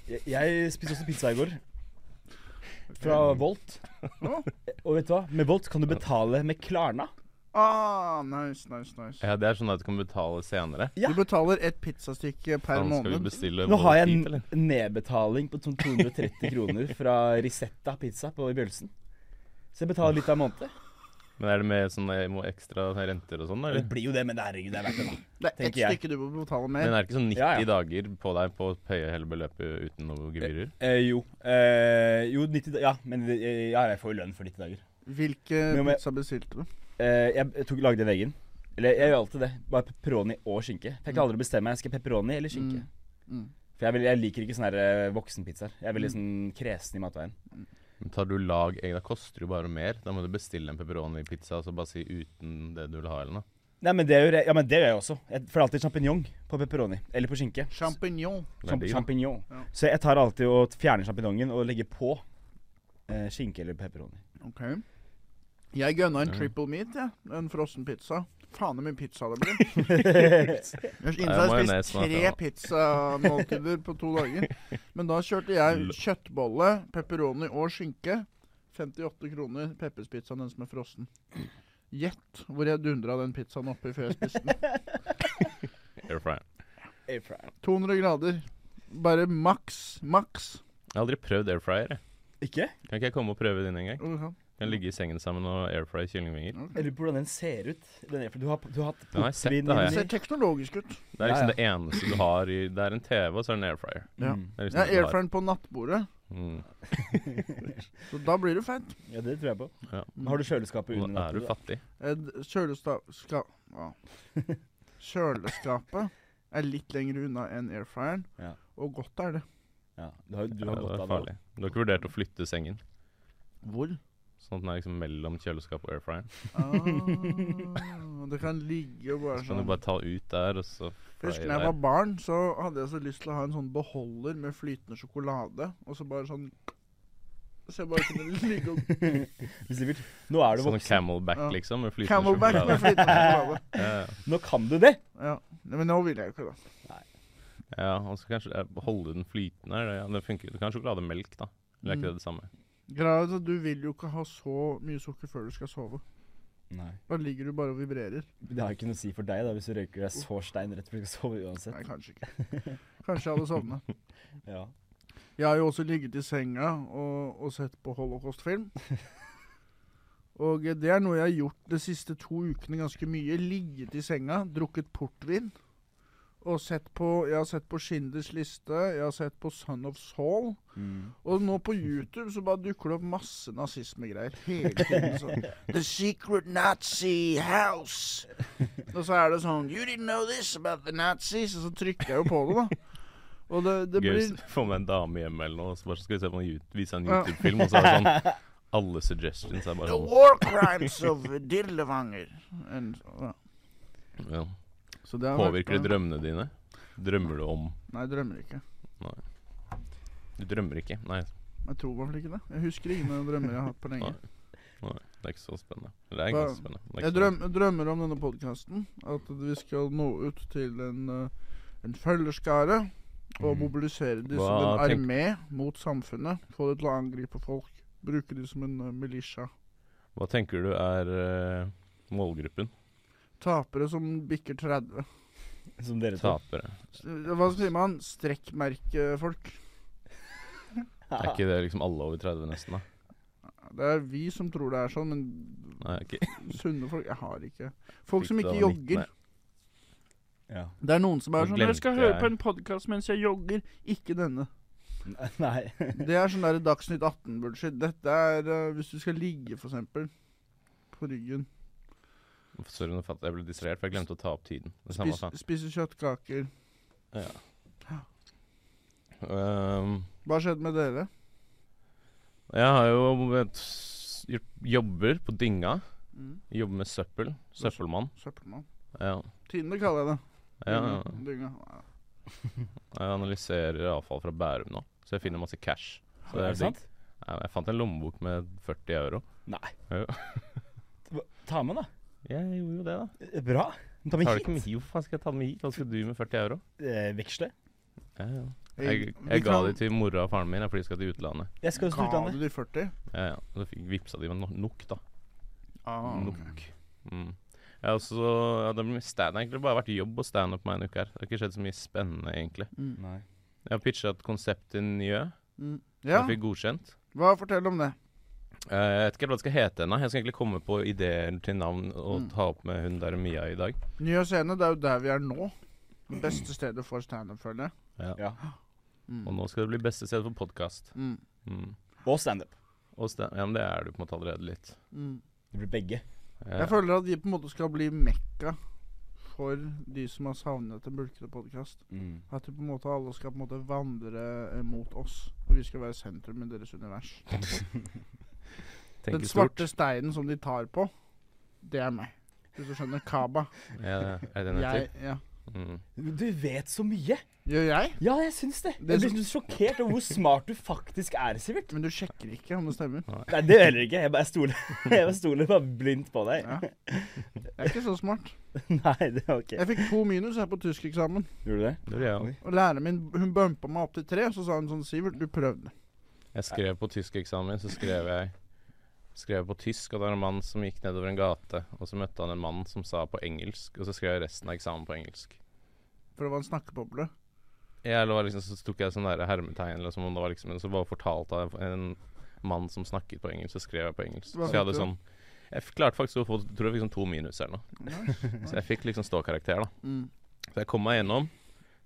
Speaker 3: Jeg, jeg spiste også pizza i går. Fra Volt.
Speaker 4: Å.
Speaker 3: Og vet du hva? Med Volt kan du betale med Klarna.
Speaker 4: Ah, nice, nice, nice.
Speaker 5: Ja, det er sånn at du kan betale senere.
Speaker 3: Ja.
Speaker 4: Du betaler et pizzastykke per
Speaker 5: Faen, skal vi
Speaker 4: måned.
Speaker 5: bestille
Speaker 3: Nå har jeg
Speaker 5: Volt hit,
Speaker 3: en
Speaker 5: eller?
Speaker 3: nedbetaling på sånn 230 kroner fra Risetta pizza på i Bjølsen. Så jeg betaler litt av måned.
Speaker 5: Men er det med sånne må ekstra renter og sånn,
Speaker 3: Det
Speaker 5: eller?
Speaker 3: blir jo det, men herregud, det er verdt det, da.
Speaker 4: Det er ett
Speaker 3: tenker jeg.
Speaker 4: stykke du må betale
Speaker 5: Men
Speaker 4: mer.
Speaker 5: er det ikke sånn 90
Speaker 3: Ja, ja.
Speaker 5: dager på deg på å paye hele beløpet uten noe gebyrer?
Speaker 3: Eh, jo. Eh, jo, 90 da- Ja, men det- eh, ja, jeg får jo lønn for 90 dager.
Speaker 4: Hvilke
Speaker 3: Men om jeg-
Speaker 4: pizza bestilte du?
Speaker 3: Eh, jeg tok, lagde en egen. Eller jeg gjør alltid det. Bare pepperoni og skinke. For jeg
Speaker 5: Mm.
Speaker 3: kan aldri bestemme meg. Skal jeg pepperoni eller skinke?
Speaker 4: Mm. Mm.
Speaker 3: For jeg, vil, jeg liker ikke sånne her, eh, voksenpizzaer. Jeg er
Speaker 5: Mm.
Speaker 3: veldig sånn kresen i matveien.
Speaker 5: Men Tar du lag egg, da koster det jo bare mer. Da må du bestille en pepperoni-pizza og så bare si uten det du vil ha, eller noe.
Speaker 3: Nei, men det gjør jeg, ja, men det gjør jeg også. Jeg får alltid champignon på pepperoni. Eller på skinke.
Speaker 4: Champignon.
Speaker 5: Det er digg, da.
Speaker 3: Champignon.
Speaker 4: Ja.
Speaker 3: Så jeg tar alltid og fjerner sjampinjongen og legger på eh, skinke eller pepperoni.
Speaker 4: Ok. Jeg gønna en
Speaker 5: Ja.
Speaker 4: triple meat, jeg. En frossen pizza. Faen hvor mye pizza det blir. Jeg innså
Speaker 5: Nei,
Speaker 4: jeg har
Speaker 5: majones
Speaker 4: spist
Speaker 5: smaker
Speaker 4: tre
Speaker 5: da.
Speaker 4: pizzamåltider på to dager. Men da kjørte jeg kjøttbolle, pepperoni og skinke. 58 kroner pepperspizzaen, den som er frossen. Gjett hvor jeg dundra den pizzaen oppi før jeg spiste den.
Speaker 5: Air fryer.
Speaker 4: 200 grader. Bare maks. Maks.
Speaker 5: Jeg har aldri prøvd air fryer. jeg.
Speaker 3: Ikke?
Speaker 5: Kan ikke jeg komme og prøve din en gang?
Speaker 4: Og du kan-
Speaker 5: Kan ligge i sengen sammen og air fry kyllingvinger.
Speaker 3: Jeg lurer på hvordan den ser ut. Den er, for du har, du har hatt
Speaker 5: Den har jeg sett,
Speaker 3: portvin
Speaker 5: det har
Speaker 4: Det
Speaker 5: jeg.
Speaker 4: ser
Speaker 3: inni.
Speaker 4: teknologisk ut.
Speaker 5: Det er liksom
Speaker 3: Ja, ja.
Speaker 5: det eneste du har i Det er en TV, og så er det en air fryer.
Speaker 4: Ja.
Speaker 3: Mm.
Speaker 5: Det er liksom
Speaker 4: Jeg
Speaker 5: det du
Speaker 4: har
Speaker 5: har.
Speaker 4: airfryeren på nattbordet,
Speaker 5: Mm.
Speaker 4: så da blir du fett.
Speaker 3: Ja, det tror jeg på.
Speaker 5: Ja.
Speaker 3: Men har du kjøleskapet under
Speaker 5: Nå er du
Speaker 3: natten?
Speaker 5: fattig.
Speaker 4: Et kjølesta... Eh, Ska... Ja. Kjøleskapet er litt lenger unna enn airfryeren,
Speaker 3: Ja.
Speaker 4: og godt er det.
Speaker 3: Ja, du har, du
Speaker 5: Ja,
Speaker 3: har
Speaker 5: det
Speaker 3: godt
Speaker 5: er
Speaker 3: av det.
Speaker 5: farlig. Du har ikke vurdert å flytte sengen?
Speaker 4: Hvor?
Speaker 5: Sånn at den er liksom mellom kjøleskap og air fryer?
Speaker 4: Ah, det kan ligge og bare
Speaker 5: Så
Speaker 4: sånn.
Speaker 5: kan du bare ta ut der, og så
Speaker 4: Husker
Speaker 5: fryer
Speaker 4: da jeg
Speaker 5: der.
Speaker 4: var barn, så hadde jeg så lyst til å ha en sånn beholder med flytende sjokolade, og så bare sånn Så jeg bare kunne ligge og
Speaker 3: Du Sivert, nå er du
Speaker 5: Sånn
Speaker 3: voksen.
Speaker 5: camelback,
Speaker 4: Ja.
Speaker 5: liksom? Med flytende
Speaker 4: Camelback med
Speaker 5: sjokolade.
Speaker 4: flytende sjokolade.
Speaker 5: Ja, ja.
Speaker 3: Nå kan du det!
Speaker 4: Ja. Nei, Men nå vil jeg jo ikke det.
Speaker 5: ja, og så kanskje eh, holde den flytende. eller, Ja, det funker. Du kan ha sjokolademelk, da. Eller er ikke det det samme?
Speaker 4: Greia er at du vil jo ikke ha så mye sukker før du skal sove.
Speaker 3: Nei.
Speaker 4: Da ligger du bare og vibrerer.
Speaker 3: Det har ikke noe å si for deg da, hvis du røyker deg så stein rett før du skal sove uansett.
Speaker 4: Nei, kanskje ikke. Kanskje jeg hadde sovna.
Speaker 3: Ja.
Speaker 4: Jeg har jo også ligget i senga og, og sett på holocaustfilm. Og eh, det er noe jeg har gjort de siste to ukene ganske mye. Ligget i senga, drukket portvin. Og sett på, jeg har sett på Schindlers liste, jeg har sett på Son of Saul.
Speaker 3: Mm.
Speaker 4: Og nå på YouTube så bare dukker det opp masse nazismegreier hele tiden. Sånn, The secret Nazi house. Og så er det sånn You didn't know this about the Nazis. Og så trykker jeg jo på det, da. Og det, det
Speaker 5: Gøy hvis
Speaker 4: blir
Speaker 5: du får med en dame hjem eller noe, og så bare skal vi se på en, YouTube- vise en
Speaker 4: Ja.
Speaker 5: YouTube-film, og så er det sånn Alle suggestions er bare
Speaker 4: The
Speaker 5: sånn.
Speaker 4: war crimes of Dirlevanger. And, ja.
Speaker 5: Ja.
Speaker 4: Så det har vært-
Speaker 5: Påvirker det drømmene dine? Drømmer du om
Speaker 4: Nei, jeg drømmer ikke.
Speaker 5: Du drømmer ikke? Nei,
Speaker 4: Jeg tror i hvert fall ikke det. Jeg husker ingen drømmer jeg har hatt på lenge.
Speaker 5: det er ikke så spennende. Eller Det er ganske spennende. men det er
Speaker 4: Jeg
Speaker 5: ikke så-
Speaker 4: drøm, drømmer om denne podkasten. At vi skal nå ut til en, eh, en følgerskare. Og
Speaker 5: Mhm.
Speaker 4: mobilisere de som en
Speaker 5: Hva tenk-
Speaker 4: armé mot samfunnet. Få det til å angripe folk. Bruke de som en eh, militia.
Speaker 5: Hva tenker du er eh, målgruppen?
Speaker 4: Tapere som bikker 30.
Speaker 3: Som dere to.
Speaker 5: Tapere.
Speaker 4: Hva sier man? Strekkmerkefolk.
Speaker 5: Er ikke det liksom alle over 30 nesten, da?
Speaker 4: Det er vi som tror det er sånn, men
Speaker 5: Nei, ok.
Speaker 4: sunne folk Jeg har ikke. Folk som
Speaker 5: Fikk det
Speaker 4: ikke
Speaker 5: da var
Speaker 4: jogger.
Speaker 5: 19,
Speaker 3: Ja.
Speaker 4: Det er noen som er
Speaker 5: Nå
Speaker 4: sånn 'Jeg skal
Speaker 5: glemte
Speaker 4: høre
Speaker 5: jeg.
Speaker 4: på en podkast mens jeg jogger'. Ikke denne.
Speaker 3: Nei.
Speaker 4: Det er sånn der Dagsnytt 18-bullshit. Dette er eh, hvis du skal ligge, for eksempel. På ryggen.
Speaker 5: ja. Sorry, nå fatt- jeg ble distrahert, for jeg glemte å ta opp tiden. Det samme
Speaker 4: Spis,
Speaker 5: faen.
Speaker 4: spise kjøttkaker.
Speaker 5: Ehm,
Speaker 4: Hva skjedde med dere?
Speaker 5: jeg har jo vet, s- gjort- jobber på dynga.
Speaker 4: Mm.
Speaker 5: Jobber med søppel. Søppelmann.
Speaker 4: Søppelmann.
Speaker 5: Ja.
Speaker 4: Tine kaller jeg det.
Speaker 5: Ja, ja.
Speaker 4: Dynga. Dynga. Ja.
Speaker 5: Jeg analyserer avfall fra Bærum nå, så jeg finner masse cash. Så
Speaker 3: Er
Speaker 5: det
Speaker 3: det
Speaker 5: er digg.
Speaker 3: sant?
Speaker 5: Ja, Jeg fant en lommebok med 40 euro.
Speaker 3: Nei.
Speaker 5: Jo.
Speaker 3: Ta med, da.
Speaker 5: Jeg gjorde jo det, da.
Speaker 3: Bra. Ta med
Speaker 5: Tar du ikke med
Speaker 3: hit.
Speaker 5: hit? Hvorfor faen skal jeg ta den med hit? Hva skal du med 40 euro?
Speaker 3: Eh, Veksle.
Speaker 5: Ja, ja.
Speaker 4: Jeg-
Speaker 5: Jeg,
Speaker 4: vi
Speaker 5: jeg ga
Speaker 4: kan-
Speaker 5: de til mora og faren min, jeg, for de skal til utlandet.
Speaker 3: Jeg skal også til
Speaker 4: Ga
Speaker 3: utlandet.
Speaker 4: du de 40?
Speaker 5: Ja, ja. Så fikk vipsa de meg no- nok, da.
Speaker 4: Ah,
Speaker 5: Nok. Mm. Ja, og så, ja, det blir mye stand. Det har egentlig bare vært jobb og standup med en uke her. Det har ikke skjedd så mye spennende, egentlig.
Speaker 4: Mm.
Speaker 3: Nei.
Speaker 5: Jeg har pitcha et konsept til Njø.
Speaker 4: Mm.
Speaker 5: Ja.
Speaker 4: Ja,
Speaker 5: Jeg fikk godkjent.
Speaker 4: hva fortell om det?
Speaker 5: Eh, Jeg vet ikke helt hva det skal hete ennå. Jeg skal egentlig komme på ideer til navn og
Speaker 4: Mm.
Speaker 5: ta opp med hun der Mia i dag.
Speaker 4: Nye scene, det er jo der vi er nå. Det beste stedet for standup, føler jeg.
Speaker 3: Ja.
Speaker 5: Og
Speaker 4: Mm.
Speaker 5: nå skal det bli beste sted for podkast.
Speaker 4: Mm.
Speaker 5: Mm.
Speaker 3: Og standup.
Speaker 5: Og sta- ja, men det er du på en måte allerede litt.
Speaker 4: Mm.
Speaker 3: Det blir begge.
Speaker 5: Ja.
Speaker 4: Jeg føler at de på en måte skal bli mekka for de som har savnet en bulkete podkast.
Speaker 5: Mm.
Speaker 4: At de på en måte alle skal på en måte vandre eh, mot oss. Og vi skal være sentrum i deres univers. Den
Speaker 5: Tenker stort.
Speaker 4: svarte steinen som de tar på, det er meg. Hvis du skjønner. Kaba.
Speaker 5: Ja, det er det den
Speaker 4: Jeg,
Speaker 5: heter?
Speaker 4: ja.
Speaker 5: Mm.
Speaker 3: Du vet så mye.
Speaker 4: Gjør jeg?
Speaker 3: Ja, jeg syns det.
Speaker 4: Det er
Speaker 3: Jeg blir så sjokkert over hvor smart du faktisk er, Sivert.
Speaker 4: Men du sjekker ikke om det stemmer.
Speaker 3: Nei, det gjør jeg heller ikke. Jeg bare stoler Jeg bare stoler bare blindt på deg.
Speaker 4: Ja. Jeg er ikke så smart.
Speaker 3: Nei, det var ok.
Speaker 4: Jeg fikk to minus her på tyskeksamen.
Speaker 3: Gjorde du det?
Speaker 5: Det gjorde jeg òg.
Speaker 4: Og læreren min hun bumpa meg opp til tre, så sa hun sånn Sivert, du prøvde.
Speaker 5: Jeg skrev på tyskeksamen min, så skrev jeg Skrev på tysk, og det var en mann som gikk nedover en gate, og så møtte han en mann som sa på engelsk, og så skrev jeg resten av eksamen på engelsk.
Speaker 4: For det var en snakkeboble.
Speaker 5: Jeg eller var liksom, så tok jeg sånn der hermetegn, eller som om det var liksom Så bare fortalte jeg en mann som snakket på engelsk, så skrev jeg på engelsk.
Speaker 4: Hva
Speaker 5: Så jeg
Speaker 4: fikk
Speaker 5: hadde
Speaker 4: du?
Speaker 5: sånn Jeg f- klarte faktisk å få Tror jeg fikk sånn to minus eller noe.
Speaker 4: Nice.
Speaker 5: Så jeg fikk liksom ståkarakter, da.
Speaker 4: Mm.
Speaker 5: Så jeg kom meg gjennom.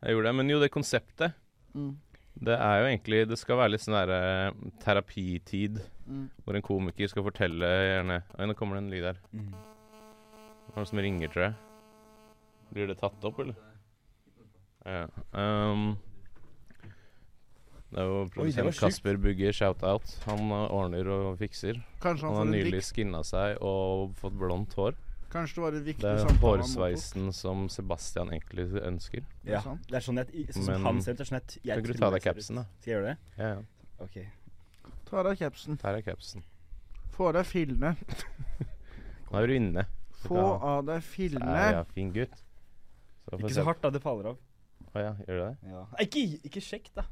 Speaker 5: Jeg gjorde det. Men jo, det konseptet
Speaker 4: Mm.
Speaker 5: Det er jo egentlig Det skal være litt sånn derre terapitid,
Speaker 4: Mm.
Speaker 5: hvor en komiker skal fortelle gjerne Oi, nå kommer det en lyd her. Det er noen som ringer, tror jeg. Blir det tatt opp, eller? Ja. ehm, det er jo
Speaker 3: det var
Speaker 5: produsent
Speaker 3: sjukt.
Speaker 5: Kasper Bugge, shout-out. Han eh, ordner og fikser.
Speaker 4: Kanskje han
Speaker 5: Han har
Speaker 4: får en
Speaker 5: nylig
Speaker 4: dikt.
Speaker 5: skinna seg og fått blondt hår.
Speaker 4: Kanskje det var en viktig
Speaker 5: Det er
Speaker 4: samtale.
Speaker 5: hårsveisen som Sebastian egentlig ønsker.
Speaker 3: Ja.
Speaker 4: Ikke sant?
Speaker 3: Det er sånn at sånn som
Speaker 5: Men-
Speaker 3: han ser ut, det er sånn at jeg
Speaker 5: Kan ikke du
Speaker 3: tror
Speaker 5: ta
Speaker 3: jeg
Speaker 5: deg
Speaker 3: ser ut.
Speaker 5: capsen, da?
Speaker 3: Skal jeg gjøre det?
Speaker 5: Ja, ja.
Speaker 3: Ok.
Speaker 4: han mottok. Ta av deg capsen.
Speaker 5: Der er capsen.
Speaker 4: Få av deg fillene.
Speaker 5: Nå er du inne.
Speaker 4: Få av deg fillene.
Speaker 5: Ja, ja, fin gutt. Så får
Speaker 3: Ikke
Speaker 5: vi
Speaker 3: så
Speaker 5: se-
Speaker 3: hardt, da. Det faller av.
Speaker 5: Å ja, gjør du det?
Speaker 3: Ja. Ikke, ikke sjekk, da.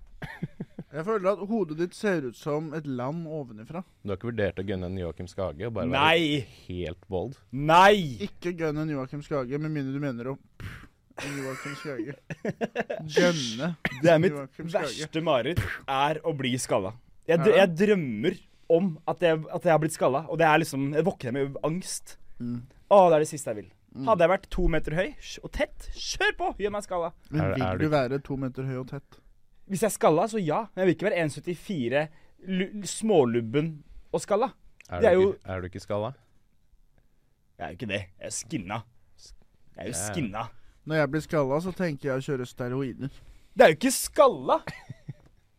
Speaker 4: Jeg føler at hodet ditt ser ut som et lam ovenifra.
Speaker 5: Du har ikke vurdert å gunne en Joakim Skage og bare
Speaker 3: Nei!
Speaker 5: være helt bold?
Speaker 3: Nei!
Speaker 4: Ikke gønn en Joakim Skage, med mindre du mener å pff, en Joakim Skage. Gønne.
Speaker 3: Det er mitt
Speaker 4: Joakim Skage.
Speaker 3: verste mareritt er å bli skalla. Jeg,
Speaker 4: Er
Speaker 3: dr
Speaker 4: det?
Speaker 3: jeg drømmer om at jeg, at jeg har blitt skalla, og det er liksom Jeg våkner med angst.
Speaker 4: Mm.
Speaker 3: Å, det er det siste jeg vil. Hadde jeg vært to meter høy sj- og tett, kjør på! Gjør meg skalla.
Speaker 4: Men
Speaker 5: Er-
Speaker 4: vil du
Speaker 5: er du-
Speaker 4: være to meter høy og tett?
Speaker 3: Hvis jeg er skalla, så ja. Men jeg vil ikke være 1,74, lu- smålubben og skalla.
Speaker 5: Er,
Speaker 3: Det er
Speaker 5: du
Speaker 3: jo-
Speaker 5: ikke, er du ikke skalla?
Speaker 3: Jeg er jo ikke det. Jeg er skinna. Jeg er jo
Speaker 5: Ja.
Speaker 3: skinna.
Speaker 4: Når jeg blir skalla, så tenker jeg å kjøre steroider.
Speaker 3: Det er jo ikke skalla!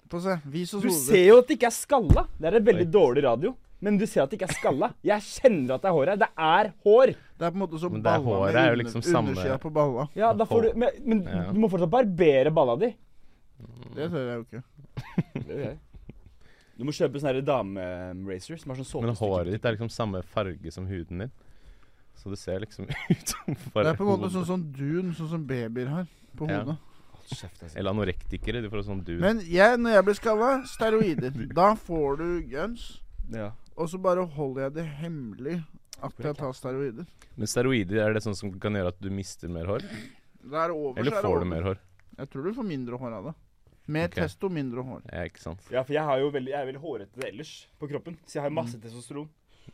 Speaker 4: Få se. Vis oss
Speaker 3: Du
Speaker 4: hodet.
Speaker 3: ser jo at det ikke er skalla. Det er en veldig
Speaker 5: Oi.
Speaker 3: dårlig radio. Men du ser at det ikke er skalla. Jeg kjenner at det er hår her. Det er hår.
Speaker 4: Det er på en måte som
Speaker 5: Men det er
Speaker 4: balla
Speaker 5: håret
Speaker 4: med
Speaker 5: er jo
Speaker 4: under-
Speaker 5: liksom samme-
Speaker 4: undersida på balla.
Speaker 3: Ja, da får du, men men
Speaker 5: Ja.
Speaker 3: du må fortsatt barbere balla di.
Speaker 5: Mm.
Speaker 4: Det tør jeg jo ikke.
Speaker 3: Du må kjøpe sånn dame-racer som har sånn
Speaker 5: Men håret ditt er liksom samme farge som huden din. Så det ser liksom ut som
Speaker 4: Det
Speaker 5: bare
Speaker 4: er på en måte
Speaker 5: hodet.
Speaker 4: sånn, sånn dun, sånn som babyer har på
Speaker 5: Ja.
Speaker 4: hodet.
Speaker 5: Eller anorektikere. De får sånn du
Speaker 4: Men jeg, når jeg blir skalla, steroider. Da får du guns,
Speaker 3: Ja.
Speaker 4: og så bare holder jeg det hemmelig at jeg tar steroider.
Speaker 5: Men steroider, er det sånn som kan gjøre at du mister mer hår?
Speaker 4: Det er over, så
Speaker 5: Eller
Speaker 4: er det
Speaker 5: får
Speaker 4: over.
Speaker 5: du mer hår?
Speaker 4: Jeg tror du får mindre hår av det. Mer
Speaker 5: Ok.
Speaker 4: testo, mindre hår.
Speaker 5: Ja, ikke sant.
Speaker 3: Ja, for jeg, har jo veldig, jeg er veldig hårete ellers på kroppen, så jeg har masse testosteron.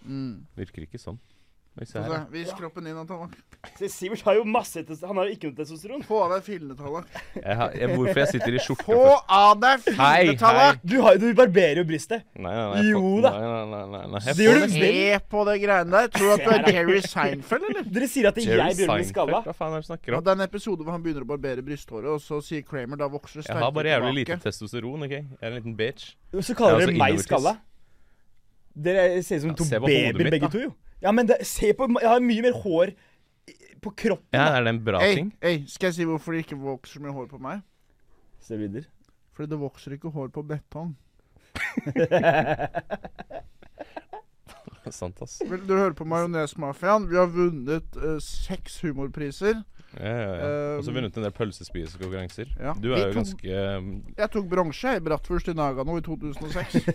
Speaker 4: Mm.
Speaker 5: Virker ikke sånn. Oi, se
Speaker 4: Få se.
Speaker 5: her.
Speaker 4: Altså, Vis kroppen din, Tallak.
Speaker 3: Så Sivert har jo masse testosteron. Han har jo ikke noe testosteron.
Speaker 4: Få av deg fillene, Tallak.
Speaker 5: Jeg har, jeg, hvorfor jeg sitter i skjorte
Speaker 4: Få
Speaker 5: først?
Speaker 4: av deg
Speaker 5: Hei,
Speaker 4: fillene,
Speaker 5: hei.
Speaker 4: Tallak!
Speaker 3: Du, har, du barberer jo brystet.
Speaker 5: Nei, nei, nei. jeg
Speaker 3: Jo
Speaker 5: får-
Speaker 3: da.
Speaker 5: Nei, nei, nei, nei, nei.
Speaker 3: Det
Speaker 5: Jeg
Speaker 3: gjør
Speaker 5: får
Speaker 3: du.
Speaker 5: det.
Speaker 4: Se på det greiene der. Tror du at du er Jerry Seinfeld, eller?
Speaker 3: Dere sier at jeg
Speaker 5: Jerry
Speaker 3: begynner å bli skalla.
Speaker 5: Seinfeld, Hva faen er det du
Speaker 4: Og
Speaker 5: snakker om?
Speaker 4: det er en episode hvor han begynner å barbere brysthåret, og så sier Kramer da vokser det
Speaker 5: Jeg har
Speaker 4: sterkere
Speaker 5: bare jævlig lite
Speaker 4: tilbake.
Speaker 5: testosteron, OK? Jeg er en liten bitch.
Speaker 3: Så
Speaker 5: Jeg
Speaker 3: kaller
Speaker 5: er
Speaker 3: dere
Speaker 5: også
Speaker 3: meg
Speaker 5: innovertis.
Speaker 3: skalla. Dere ser ut som
Speaker 5: altså, Ja,
Speaker 3: to
Speaker 5: se på hodet
Speaker 3: babyer
Speaker 5: mitt,
Speaker 3: begge
Speaker 5: da.
Speaker 3: to, jo. Ja, men det, se på Jeg har mye mer hår i- på kroppen.
Speaker 5: Ja, er det en bra
Speaker 4: Ei,
Speaker 5: ting?
Speaker 4: ei, skal jeg si hvorfor det ikke vokser så mye hår på meg?
Speaker 3: Steroider.
Speaker 4: Fordi det vokser ikke hår på betong.
Speaker 5: Sant, ass.
Speaker 4: Vil du høre på Majonesmafiaen? Vi har vunnet eh, seks humorpriser.
Speaker 5: Ja, ja, ja. Og så
Speaker 4: Um,
Speaker 5: vunnet en del pølsespisekonkurranser.
Speaker 4: ja.
Speaker 5: Du
Speaker 4: Vi
Speaker 5: er jo
Speaker 4: to-
Speaker 5: ganske um,
Speaker 4: Jeg tok bronse jeg, i Bratwurst i Nagano i 2006.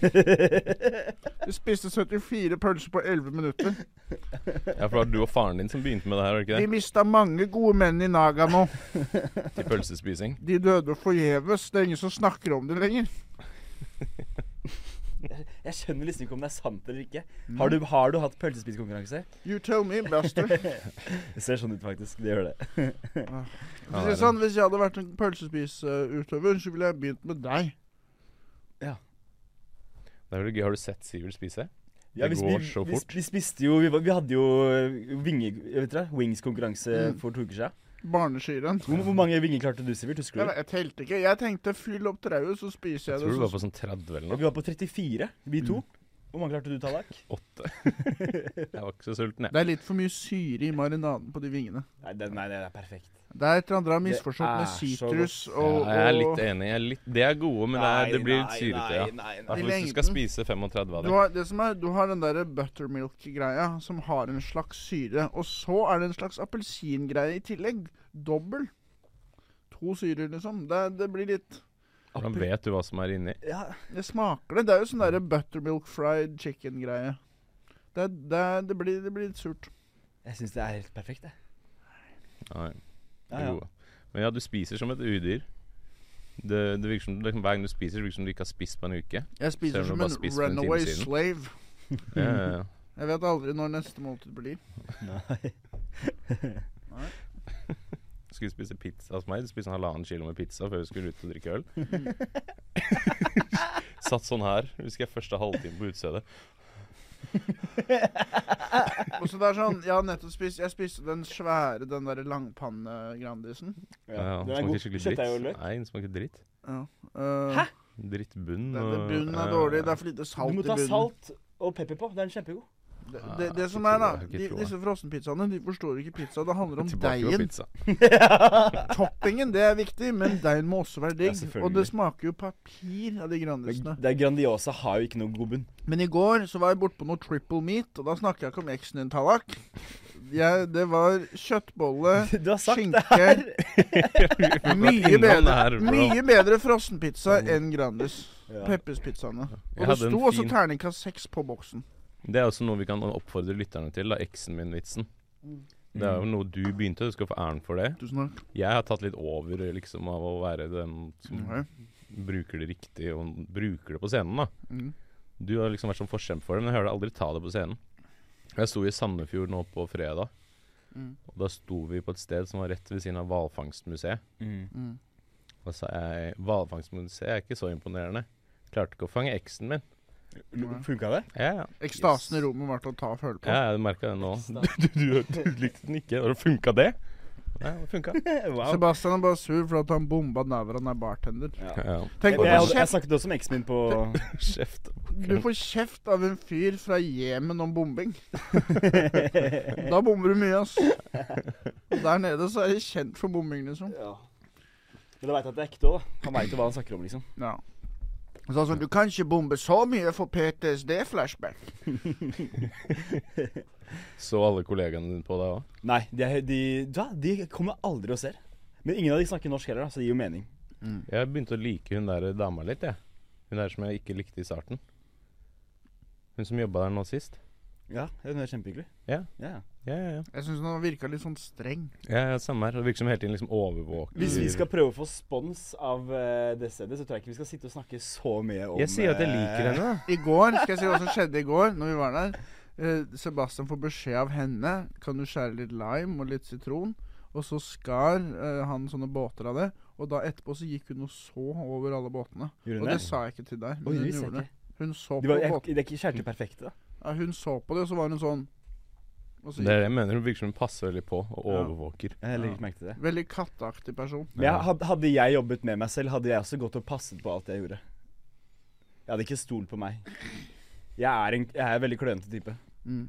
Speaker 4: Vi spiste 74 pølser på 11 minutter.
Speaker 5: Ja, for det var du og faren din som begynte med det her, var det
Speaker 4: Vi
Speaker 5: ikke
Speaker 4: mista mange gode menn i Nagano.
Speaker 5: det? Til pølsespising.
Speaker 4: De døde forgjeves. Det er ingen som snakker om det lenger.
Speaker 3: Jeg skjønner liksom ikke om det er sant eller ikke. Har du, har du hatt pølsespisekonkurranse?
Speaker 4: You tell me, Buster.
Speaker 3: Det ser sånn ut, faktisk. Det gjør det.
Speaker 4: For å si det sånn, hvis jeg hadde vært en pølsespisutøver, så ville jeg begynt med deg.
Speaker 5: Det er veldig gøy. Har du sett Sivert spise?
Speaker 3: Ja,
Speaker 5: Det
Speaker 3: vi,
Speaker 5: går
Speaker 3: vi-
Speaker 5: så
Speaker 3: vi,
Speaker 5: fort.
Speaker 3: vi spiste jo Vi, var- vi hadde jo eh, vinge, vet dere, wings-konkurranse for to uker siden.
Speaker 4: Barneskirenn.
Speaker 3: Hvor, hvor mange vinger klarte du, Sivert? Husker
Speaker 4: Jeg,
Speaker 3: du?
Speaker 4: vet- jeg telte ikke. Jeg tenkte fyll opp trauet, så spiser
Speaker 5: Jeg
Speaker 4: jeg
Speaker 5: tror
Speaker 4: det.
Speaker 5: du var
Speaker 4: Så...
Speaker 5: på sånn 30 eller
Speaker 3: Ja,
Speaker 5: noe.
Speaker 3: Vi var på 34, vi
Speaker 5: Mm.
Speaker 3: to. Hvor mange klarte du, Tallak?
Speaker 5: 8. Jeg var ikke så sulten, jeg.
Speaker 4: Det er litt for mye syre i marinaden på de vingene.
Speaker 3: Nei, det, nei, det er perfekt.
Speaker 4: Det er et eller annet dere har misforstått med
Speaker 3: er så
Speaker 4: sitrus og,
Speaker 5: Ja, jeg er
Speaker 4: og
Speaker 5: litt enig. Jeg er litt, det er gode, men det, er, det blir litt syrete, ja.
Speaker 3: Nei, nei,
Speaker 5: I hvert
Speaker 4: I
Speaker 5: fall Hvis du skal spise 35 av
Speaker 4: du
Speaker 5: det.
Speaker 4: har, det som er, du har den derre buttermilk-greia som har en slags syre. Og så er det en slags appelsingreie i tillegg. Dobbel. To syrer, liksom. Det, det blir litt
Speaker 5: Hvordan vet du hva som er inni?
Speaker 3: Ja,
Speaker 4: Det smaker det. Det er jo sånn derre buttermilk fried chicken-greie. Det, det, det, blir, det blir litt surt.
Speaker 3: jeg syns det er helt perfekt, jeg.
Speaker 5: Nei, det
Speaker 3: Ja,
Speaker 5: er
Speaker 3: ja.
Speaker 5: gode. Men ja, du spiser som et udyr. Det, det virker som, det, hver gang du spiser, det virker som du ikke har spist på en uke.
Speaker 4: Jeg
Speaker 5: Selv
Speaker 4: spiser
Speaker 5: om
Speaker 4: som
Speaker 5: du
Speaker 4: en
Speaker 5: bare spiser for en time
Speaker 4: runaway
Speaker 5: siden.
Speaker 4: slave. Mm.
Speaker 5: Ja, ja, ja.
Speaker 4: Jeg vet aldri når neste måltid blir.
Speaker 3: Nei.
Speaker 5: skulle spise pizza hos meg. Du spiste en halvannen kilo med pizza før vi skulle ut og drikke øl. Satt sånn her. Husker jeg første halvtime på utestedet.
Speaker 4: Og så det er sånn, Jeg har nettopp spist Jeg spiste den svære, den derre langpanne-Grandisen.
Speaker 5: Ja, ja,
Speaker 3: Den er god.
Speaker 5: smaker skikkelig dritt.
Speaker 3: Kjøttdeig og løk.
Speaker 5: Nei, den smaker dritt.
Speaker 4: Ja. Eh,
Speaker 5: Drittbunn.
Speaker 4: Den den
Speaker 5: og-
Speaker 4: bunnen er
Speaker 5: ja,
Speaker 4: dårlig.
Speaker 5: ja.
Speaker 4: Det er for lite salt
Speaker 3: Du
Speaker 4: i
Speaker 3: må ta
Speaker 4: bunnen.
Speaker 3: salt og pepper på. Det er en kjempegod.
Speaker 4: Det,
Speaker 5: Ah,
Speaker 4: det, det
Speaker 5: ikke
Speaker 4: som er,
Speaker 5: tro
Speaker 4: da
Speaker 5: det, ikke
Speaker 4: de,
Speaker 5: tro det.
Speaker 4: Disse frossenpizzaene de forstår ikke pizza. Det handler om
Speaker 5: Tilbake på
Speaker 4: deigen.
Speaker 5: pizza.
Speaker 4: Toppingen det er viktig, men deigen må også være digg.
Speaker 3: selvfølgelig.
Speaker 4: og det smaker jo papir av de Grandisene.
Speaker 3: Det er Grandiosa har jo ikke noe god bunn.
Speaker 4: Men i går så var jeg borte på noe triple meat, og da snakker jeg ikke om eksen din, Tallak. Jeg, det var kjøttbolle,
Speaker 3: Du har sagt det
Speaker 4: skinke Mye
Speaker 5: Innom
Speaker 4: bedre,
Speaker 5: her, bro.
Speaker 4: mye bedre frossenpizza enn Grandis.
Speaker 3: Ja.
Speaker 4: Peppers-pizzaene.
Speaker 5: Jeg
Speaker 4: Og det
Speaker 5: hadde en
Speaker 4: sto også
Speaker 5: fin-
Speaker 4: terningkast seks på boksen.
Speaker 5: Det er også noe vi kan oppfordre lytterne til, da. Eksen min-vitsen.
Speaker 4: Mm.
Speaker 5: Det er jo noe du begynte, du skal få æren for det.
Speaker 4: Tusen takk.
Speaker 5: Jeg har tatt litt over liksom av å være den som
Speaker 4: Ok.
Speaker 5: bruker det riktig, og bruker det på scenen, da.
Speaker 4: Mm.
Speaker 5: Du har liksom vært sånn forkjemper for det, men jeg hører deg aldri ta det på scenen. Jeg sto i Sandefjord nå på fredag,
Speaker 4: Mm.
Speaker 5: og da sto vi på et sted som var rett ved siden av hvalfangstmuseet.
Speaker 4: Mm.
Speaker 5: Da sa jeg hvalfangstmuseet er ikke så imponerende. Klarte ikke å fange eksen min.
Speaker 3: Funka det?
Speaker 5: Ja, ja.
Speaker 4: Ekstasen
Speaker 5: Yes.
Speaker 4: i rommet var til å ta og føle på.
Speaker 5: ja jeg merka det nå. Du, du, du, likte den ikke. Har det funka, det? Ja, det funka.
Speaker 3: Wow.
Speaker 4: Sebastian er bare sur for at han bomba Navran er bartender.
Speaker 5: Ja.
Speaker 4: Tenk
Speaker 3: Jeg,
Speaker 4: på
Speaker 5: Bare
Speaker 3: jeg,
Speaker 4: det
Speaker 5: sånn.
Speaker 3: jeg snakket også med eksen min på
Speaker 5: Kjeft.
Speaker 4: Du får kjeft av en fyr fra Jemen om bombing. da bomber du mye, ass. Der nede så er de kjent for bombing, liksom.
Speaker 3: ja. Men da veit jeg at det er ekte òg, da. Han veit jo hva han snakker om, liksom.
Speaker 4: Ja. Så altså, du kan ikke bombe så mye for PTSD-flashback.
Speaker 5: Så alle kollegaene dine på deg òg?
Speaker 3: Nei, de, er, de, da, de kommer aldri og ser. Men ingen av de snakker norsk heller, da, så det gir jo mening.
Speaker 5: Jeg begynte å like hun der dama litt, jeg. Hun der som jeg ikke likte i starten. Hun som jobba der nå sist.
Speaker 3: Ja, hun er kjempehyggelig.
Speaker 5: Ja.
Speaker 3: Ja.
Speaker 5: Ja, ja, ja.
Speaker 4: Jeg syns han virka litt sånn streng.
Speaker 5: ja, ja samme her. Det virker som hele tiden liksom overvåker
Speaker 3: Hvis vi skal prøve å få spons av eh, det stedet, så tror jeg ikke vi skal sitte og snakke så mye om
Speaker 5: Jeg sier at jeg liker
Speaker 3: eh,
Speaker 5: henne, da.
Speaker 4: I går, skal jeg si hva som skjedde i går, når vi var der. Eh, Sebastian får beskjed av henne Kan du skjære litt lime og litt sitron. Og så skar eh, han sånne båter av det. Og da etterpå så gikk hun og så over alle båtene.
Speaker 3: Gjorde hun
Speaker 4: Og det
Speaker 3: det?
Speaker 4: sa jeg ikke til
Speaker 3: Oi,
Speaker 4: deg. Men hun
Speaker 3: det visste jeg
Speaker 4: gjorde det.
Speaker 3: ikke.
Speaker 4: Hun så
Speaker 3: De
Speaker 4: på
Speaker 3: var, jeg,
Speaker 4: båten.
Speaker 3: det er ikke kjæreste perfekte, da.
Speaker 4: Ja, hun så på det, og så var hun sånn og så
Speaker 5: Det
Speaker 4: gikk.
Speaker 5: er det jeg mener. Hun virker som hun passer veldig på og overvåker.
Speaker 3: Jeg legger ikke merke til det.
Speaker 4: Veldig katteaktig person.
Speaker 3: Men jeg, had- hadde jeg jobbet med meg selv, hadde jeg også gått og passet på alt jeg gjorde. Jeg hadde ikke stolt på meg. Jeg er en, jeg er en veldig klønete type.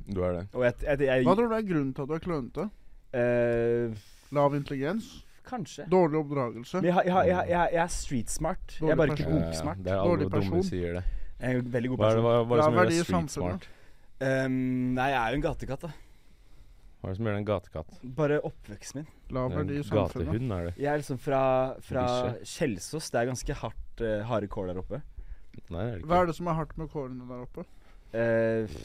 Speaker 5: Du er det.
Speaker 3: Og jeg, jeg, jeg,
Speaker 4: Hva tror du er grunnen til at du er klønete?
Speaker 3: eh,
Speaker 4: Lav intelligens?
Speaker 3: Kanskje.
Speaker 4: Dårlig oppdragelse?
Speaker 3: Men jeg, har- jeg, har- jeg, har- jeg, jeg er street smart. Jeg er bare ikke
Speaker 4: Dårlig person.
Speaker 3: boksmart.
Speaker 5: Eh, Det er alle
Speaker 4: Dårlig
Speaker 5: dumme
Speaker 4: person.
Speaker 5: sier det.
Speaker 3: Jeg er en veldig god
Speaker 5: Hva er det,
Speaker 3: person.
Speaker 5: hva, hva er det som
Speaker 4: Lav
Speaker 5: gjør
Speaker 4: verdi
Speaker 5: deg
Speaker 4: i
Speaker 5: street
Speaker 4: samfunnet.
Speaker 5: smart?
Speaker 3: Ehm, nei, jeg er jo en gatekatt, da.
Speaker 5: Hva er det som gjør deg en gatekatt?
Speaker 3: Bare oppveksten min.
Speaker 4: Lav
Speaker 5: Det er
Speaker 4: verdi i
Speaker 5: en
Speaker 4: samfunnet?
Speaker 5: Gatehund er det.
Speaker 3: Jeg er liksom fra, fra
Speaker 5: Bikkje.
Speaker 3: Kjelsås. Det er ganske hardt, eh, harde kår der oppe.
Speaker 5: Nei, det er det
Speaker 4: Hva
Speaker 5: ikke.
Speaker 4: er det som er hardt med kårene der oppe?
Speaker 3: Eh,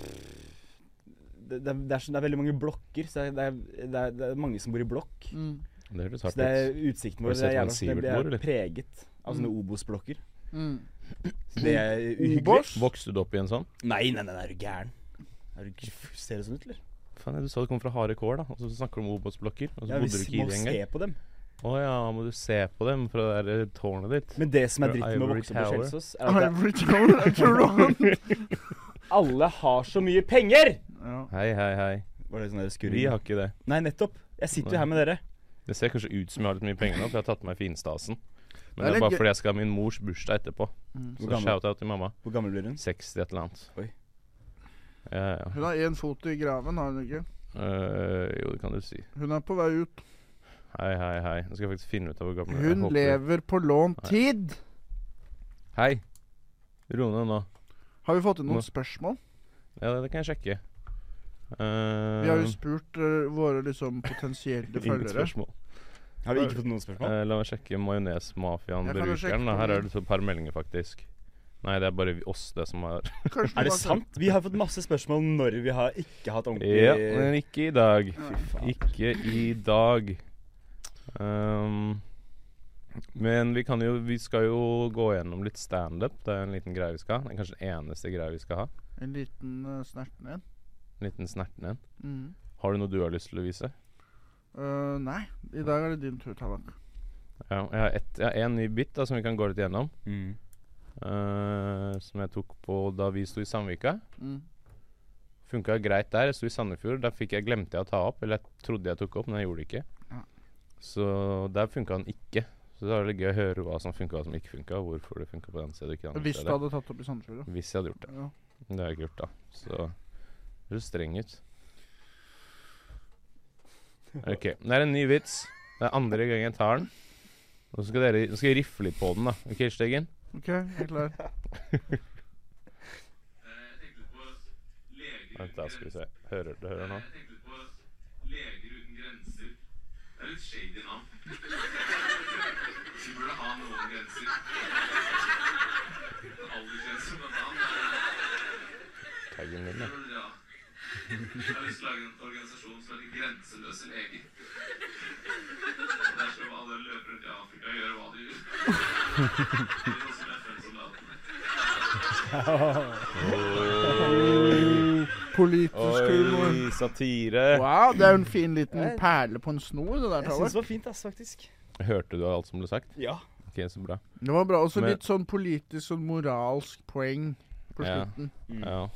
Speaker 3: det, det, er, det, er, sånn- det er veldig mange blokker, så det er, det er, det er, det er mange som bor i blokk.
Speaker 4: Mm.
Speaker 5: Det høres
Speaker 3: Så
Speaker 5: hardt
Speaker 3: det er
Speaker 5: ut.
Speaker 3: utsikten
Speaker 5: Har
Speaker 3: vår
Speaker 5: du
Speaker 3: det er
Speaker 5: sett
Speaker 3: jævla,
Speaker 5: han
Speaker 3: den
Speaker 5: Sivert
Speaker 3: blir
Speaker 5: bor, eller?
Speaker 3: preget av sånne Obos-blokker.
Speaker 4: Mm.
Speaker 3: Så det er uhyggelig.
Speaker 4: Obos?
Speaker 5: Vokste du opp i en sånn?
Speaker 3: Nei, nei, nei, nei, er du gæren? Er du, g- ser det sånn ut, eller?
Speaker 5: Faen, du sa du kom fra harde kår, da. Og så snakker du om Obos-blokker. Og så
Speaker 3: Ja, vi
Speaker 5: bodde du
Speaker 3: s-
Speaker 5: ikke i
Speaker 3: må
Speaker 5: det engang.
Speaker 3: se på dem.
Speaker 5: Å ja, må du se på dem fra det der eh, tårnet ditt?
Speaker 3: Men det som er
Speaker 5: Fra
Speaker 3: dritten med å
Speaker 5: Ivory
Speaker 3: vokse opp på
Speaker 5: Tower.
Speaker 3: Kjelsås, er at det
Speaker 4: Ivory Tower, jeg tror du han
Speaker 3: er- alle har så mye penger!
Speaker 4: ja.
Speaker 5: Hei, hei, hei.
Speaker 3: Var det sånn der
Speaker 5: Vi
Speaker 3: skurring?
Speaker 5: har ikke det.
Speaker 3: Nei, nettopp. Jeg sitter jo her med dere.
Speaker 5: Det ser kanskje ut som jeg har litt mye penger nå, for jeg har tatt på meg finstasen. Men
Speaker 4: Det er
Speaker 5: det er
Speaker 4: litt
Speaker 5: bare
Speaker 4: gøy-
Speaker 5: fordi jeg skal ha min mors bursdag etterpå.
Speaker 3: Hvor
Speaker 5: Så
Speaker 3: gammel,
Speaker 5: shout-out til mamma.
Speaker 3: hvor gammel blir hun?
Speaker 5: 60 et eller annet.
Speaker 3: Oi.
Speaker 5: Ja, ja.
Speaker 4: Hun har én fot i graven, har hun ikke?
Speaker 5: Eh, jo, det kan du si.
Speaker 4: Hun er på vei ut.
Speaker 5: Hei, hei, hei. Nå skal jeg faktisk finne ut av hvor gammel jeg
Speaker 4: Hun
Speaker 5: håper-
Speaker 4: lever på lånt tid!
Speaker 5: Hei! Ro ned nå.
Speaker 4: Har vi fått inn noen
Speaker 5: Nå-
Speaker 4: spørsmål?
Speaker 5: Ja, det, det kan jeg sjekke. Eh,
Speaker 4: Vi har jo spurt eh, våre liksom potensielle
Speaker 5: ingen
Speaker 4: følgere.
Speaker 5: Eh, spørsmål.
Speaker 3: Har vi ikke fått noen spørsmål?
Speaker 5: Eh, la meg sjekke
Speaker 4: Jeg kan jo sjekke på
Speaker 5: Majonesmafiaen-brukeren. da. Her
Speaker 4: min.
Speaker 5: er det et par meldinger, faktisk. Nei, det er bare vi- oss, det som har
Speaker 4: Kanskje
Speaker 3: Er det
Speaker 4: noen
Speaker 3: sant? Vi har fått masse spørsmål når vi har ikke hatt ordentlig Mm.
Speaker 5: Ja, men ikke i dag.
Speaker 3: faen.
Speaker 5: Ikke i dag. Ehm, men vi kan jo Vi skal jo gå gjennom litt standup. Det er en liten greie vi skal ha. Det er kanskje den eneste greia vi skal ha.
Speaker 4: En liten uh, snerten en.
Speaker 5: En liten snerten en.
Speaker 4: Mm.
Speaker 5: Har du noe du har lyst til å vise?
Speaker 4: Eh, nei, i dag er det din tur, Tallak.
Speaker 5: Ja, jeg har ett- jeg har en ny bit da som vi kan gå litt gjennom.
Speaker 3: Mm.
Speaker 5: eh, som jeg tok på da vi sto i Sandvika.
Speaker 4: Mm.
Speaker 5: Funka greit der. Jeg sto i Sandefjord. Der fikk jeg, glemte jeg å ta opp. Eller jeg trodde jeg tok opp, men jeg gjorde det ikke.
Speaker 4: Ja.
Speaker 5: Så der funka den ikke. Så det er det gøy å høre hva som funka og hva som ikke funka. Hvorfor det funka på den stedet og ikke det andre
Speaker 4: Hvis du
Speaker 5: stedet.
Speaker 4: hadde tatt opp i Sandefjord, ja.
Speaker 5: Hvis jeg hadde gjort det.
Speaker 4: ja.
Speaker 5: Men Det har jeg ikke gjort, da. Så det høres streng ut. OK. Det er en ny vits. Det er andre gang jeg tar den. Og så skal dere nå skal jeg rifle litt på den, da. OK, Stegen?
Speaker 4: OK, jeg er klar.
Speaker 5: Vent, da skal vi se. Hører du hører nå?
Speaker 6: Leger uten grenser. Det er litt shady navn. Vi burde ha noen grenser. Aldersgrense blant annet.
Speaker 5: Taggen min, da.
Speaker 6: Det burde dere ha. Jeg har lyst til å lage en organisasjon som heter Grenseløse leger. Der skal alle løpe rundt i Afrika og gjøre hva de vil. Det er også med FN-soldatene.
Speaker 4: Politisk humor.
Speaker 5: Oi, satire.
Speaker 4: Wow, det er jo en fin liten perle på en snor, det der,
Speaker 3: Jeg syns
Speaker 4: Tallak.
Speaker 3: det var fint, ass, faktisk.
Speaker 5: Hørte du alt som ble sagt?
Speaker 3: Ja.
Speaker 5: OK, så bra.
Speaker 4: Det var bra. Også
Speaker 5: Men-
Speaker 4: litt sånn politisk og moralsk poeng på
Speaker 5: Ja.
Speaker 4: slutten.
Speaker 5: Ja.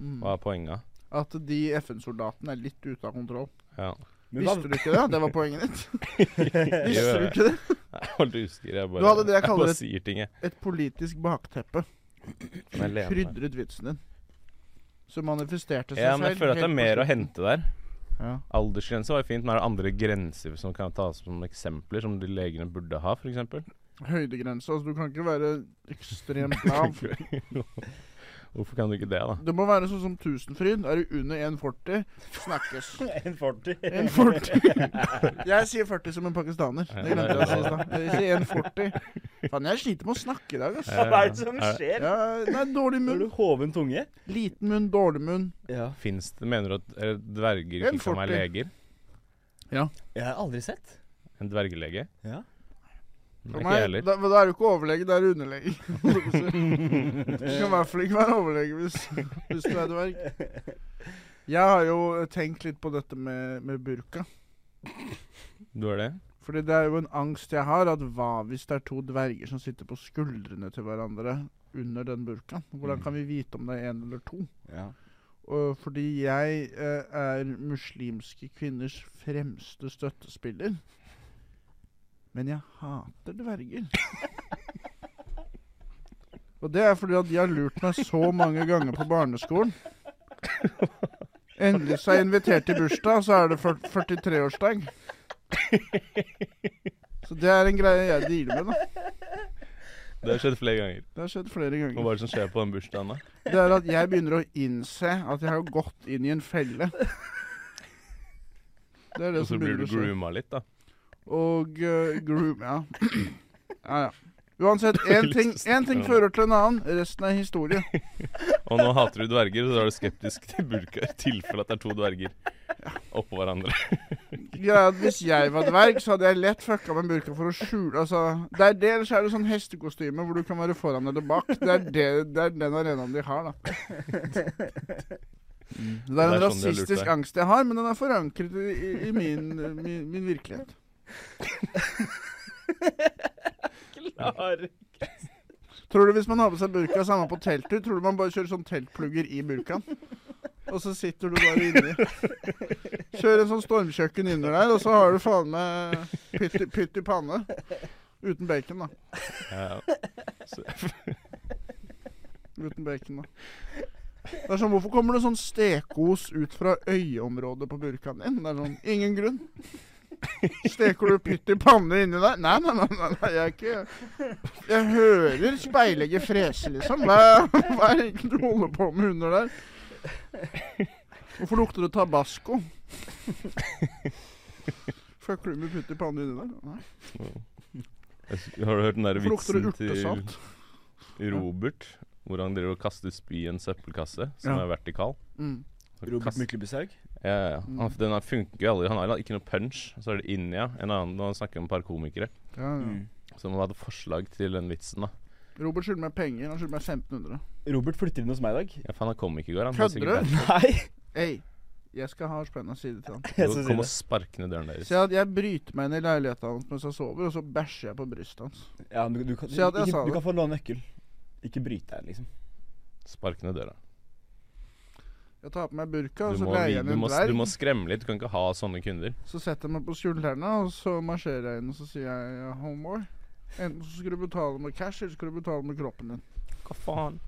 Speaker 5: Hva er poenga?
Speaker 4: At de FN-soldatene er litt ute av kontroll.
Speaker 5: Ja.
Speaker 3: Men hva,
Speaker 4: Visste du ikke det? Det var poenget ditt. Visste
Speaker 5: Gjør
Speaker 4: du
Speaker 5: jeg.
Speaker 4: ikke det?
Speaker 5: Jeg er litt usikker. Jeg bare,
Speaker 4: Du hadde det jeg kaller
Speaker 5: bare
Speaker 4: et-
Speaker 5: sier ting, jeg.
Speaker 4: Et politisk bakteppe
Speaker 5: Men jeg lener meg.
Speaker 4: krydret vitsen din. Som manifesterte seg
Speaker 5: Ja, men jeg føler at det
Speaker 4: helt
Speaker 5: er
Speaker 4: på
Speaker 5: mer å
Speaker 4: slutten.
Speaker 5: hente der.
Speaker 4: Ja.
Speaker 5: Aldersgrense var jo fint, men er det andre grenser som kan tas som eksempler, som de legene burde ha, f.eks.?
Speaker 4: Høydegrense. Altså, du kan ikke være ekstremt lav.
Speaker 5: Hvorfor kan du ikke det, da?
Speaker 4: Det må være sånn som Tusenfryd. Er du under 1,40, snakkes.
Speaker 3: 1,40?
Speaker 4: 1,40. Jeg sier 40 som en pakistaner. Det glemte jeg å si i stad. Jeg sier 1,40. Faen, jeg sliter med å snakke i dag, ass.
Speaker 3: Hva er det som
Speaker 5: Er det-
Speaker 3: skjer?
Speaker 4: Ja, nei, dårlig
Speaker 3: Har
Speaker 4: munn.
Speaker 3: du hoven tunge?
Speaker 4: Liten munn, dårlig munn.
Speaker 3: Ja.
Speaker 5: Fins det Mener du at eh, dverger ikke
Speaker 4: 1,40.
Speaker 5: kan være leger?
Speaker 3: Jeg har aldri sett.
Speaker 5: En dvergelege?
Speaker 3: Ja.
Speaker 5: Nei,
Speaker 4: For
Speaker 5: ikke jeg
Speaker 4: meg,
Speaker 5: heller.
Speaker 4: da, men da er du ikke overlege, da er du underlege. du kan i hvert fall ikke være overlege hvis, hvis du er dverg. Jeg har jo tenkt litt på dette med, med burka.
Speaker 5: Du er det?
Speaker 4: Fordi det er jo en angst jeg har, at hva hvis det er to dverger som sitter på skuldrene til hverandre under den burkaen?
Speaker 5: Mm.
Speaker 4: Hvordan kan vi vite om det er én eller to?
Speaker 3: Ja.
Speaker 4: Og fordi jeg eh, er muslimske kvinners fremste støttespiller. Men jeg hater dverger. Og det er fordi at de har lurt meg så mange ganger på barneskolen. Endelig så er jeg invitert til bursdag, så er det fyr- 43-årsdag. Så det er en greie jeg dealer med, da.
Speaker 5: Det har skjedd flere ganger.
Speaker 4: Det har skjedd flere
Speaker 5: Hva
Speaker 4: ganger.
Speaker 5: var det som skjer på den bursdagen, da?
Speaker 4: Det er at jeg begynner å innse at jeg har gått inn i en felle. Det er det
Speaker 5: Og så
Speaker 4: som
Speaker 5: blir du
Speaker 4: begynner å skje.
Speaker 5: grooma litt, da.
Speaker 4: Og eh, groom, ja. ja, ja. Uansett, én ting, en ting fører til en annen. Resten er historie.
Speaker 5: Og nå hater du dverger, så da er du skeptisk til burka i tilfelle at det er to dverger oppå hverandre.
Speaker 4: Greia er at Hvis jeg var dverg, så hadde jeg lett fucka med burka for å skjule Altså, det er det, eller så er det sånn hestekostyme hvor du kan være foran eller bak. Det er, det, det er den arenaen de har, da. Det er en
Speaker 5: Det er sånn de har lurt
Speaker 4: rasistisk
Speaker 5: deg.
Speaker 4: angst jeg har, men den er forankret i, i, i min, eh, min, min virkelighet.
Speaker 3: Klar.
Speaker 4: Tror du hvis man har på seg burka, samme på telttur, tror du man bare kjører sånn teltplugger i burkaen? Og så sitter du bare inni. Kjør en sånn stormkjøkken under der, og så har du faen meg pytt, i- pytt i panne. Uten bacon, da.
Speaker 5: Ja,
Speaker 4: Uten bacon, da. Det er sånn, Hvorfor kommer det sånn stekos ut fra øyeområdet på burkaen din? Det er sånn, Ingen grunn. Steker du pytt i panne inni der? Nei, nei, nei, nei, nei jeg er ikke Jeg hører speilegget frese, liksom. Hva, hva er det egentlig du holder på med under der? Hvorfor lukter det tabasco? Fucker du med pytt i panne inni der? Nei.
Speaker 5: Jeg s- Har du hørt den der
Speaker 4: Hvorfor lukter
Speaker 5: vitsen
Speaker 4: det
Speaker 5: til
Speaker 4: urtesalt?
Speaker 5: Robert? Hvor han driver og kaster spy i en søppelkasse som
Speaker 4: Ja.
Speaker 5: er vertikal.
Speaker 4: Mm.
Speaker 3: Robert
Speaker 5: Kast-
Speaker 3: Myklebushaug.
Speaker 5: Ja, ja, ja. Han, den her funker jo aldri. Han har ikke noe punch. Så er det India, en annen når han snakker om et par komikere,
Speaker 4: Ja, ja.
Speaker 5: Mm. som hadde forslag til den vitsen. da
Speaker 4: Robert skylder meg penger. Han skylder meg 1500.
Speaker 3: Robert flytter inn hos meg i dag.
Speaker 5: Ja, faen, han kom ikke i går. Han
Speaker 4: Kødder du?
Speaker 3: Nei.
Speaker 4: Hei, jeg skal ha spennende side til han.
Speaker 3: Jeg skal si
Speaker 5: Kom og
Speaker 3: det.
Speaker 5: spark ned døren deres.
Speaker 4: Si at jeg bryter meg inn i leiligheten hans mens han sover, og så bæsjer jeg på brystet hans.
Speaker 3: Ja, men du, du, kan,
Speaker 4: Si at jeg sa
Speaker 3: ikke, du
Speaker 4: det.
Speaker 3: kan få låne nøkkel. Ikke bryte her, liksom.
Speaker 5: Spark ned døra.
Speaker 4: Jeg tar på meg burka, og
Speaker 5: Du
Speaker 4: så
Speaker 5: må,
Speaker 4: leier
Speaker 5: vi-
Speaker 4: jeg
Speaker 5: du,
Speaker 4: inn en
Speaker 5: må, du
Speaker 4: dverg.
Speaker 5: må skremme litt. Du kan ikke ha sånne kunder.
Speaker 4: Så setter jeg meg på skuldrene, og så marsjerer jeg inn, og så sier jeg homeboy. Enten så skal du betale med cash, eller så skal du betale med kroppen din.
Speaker 5: Hva faen?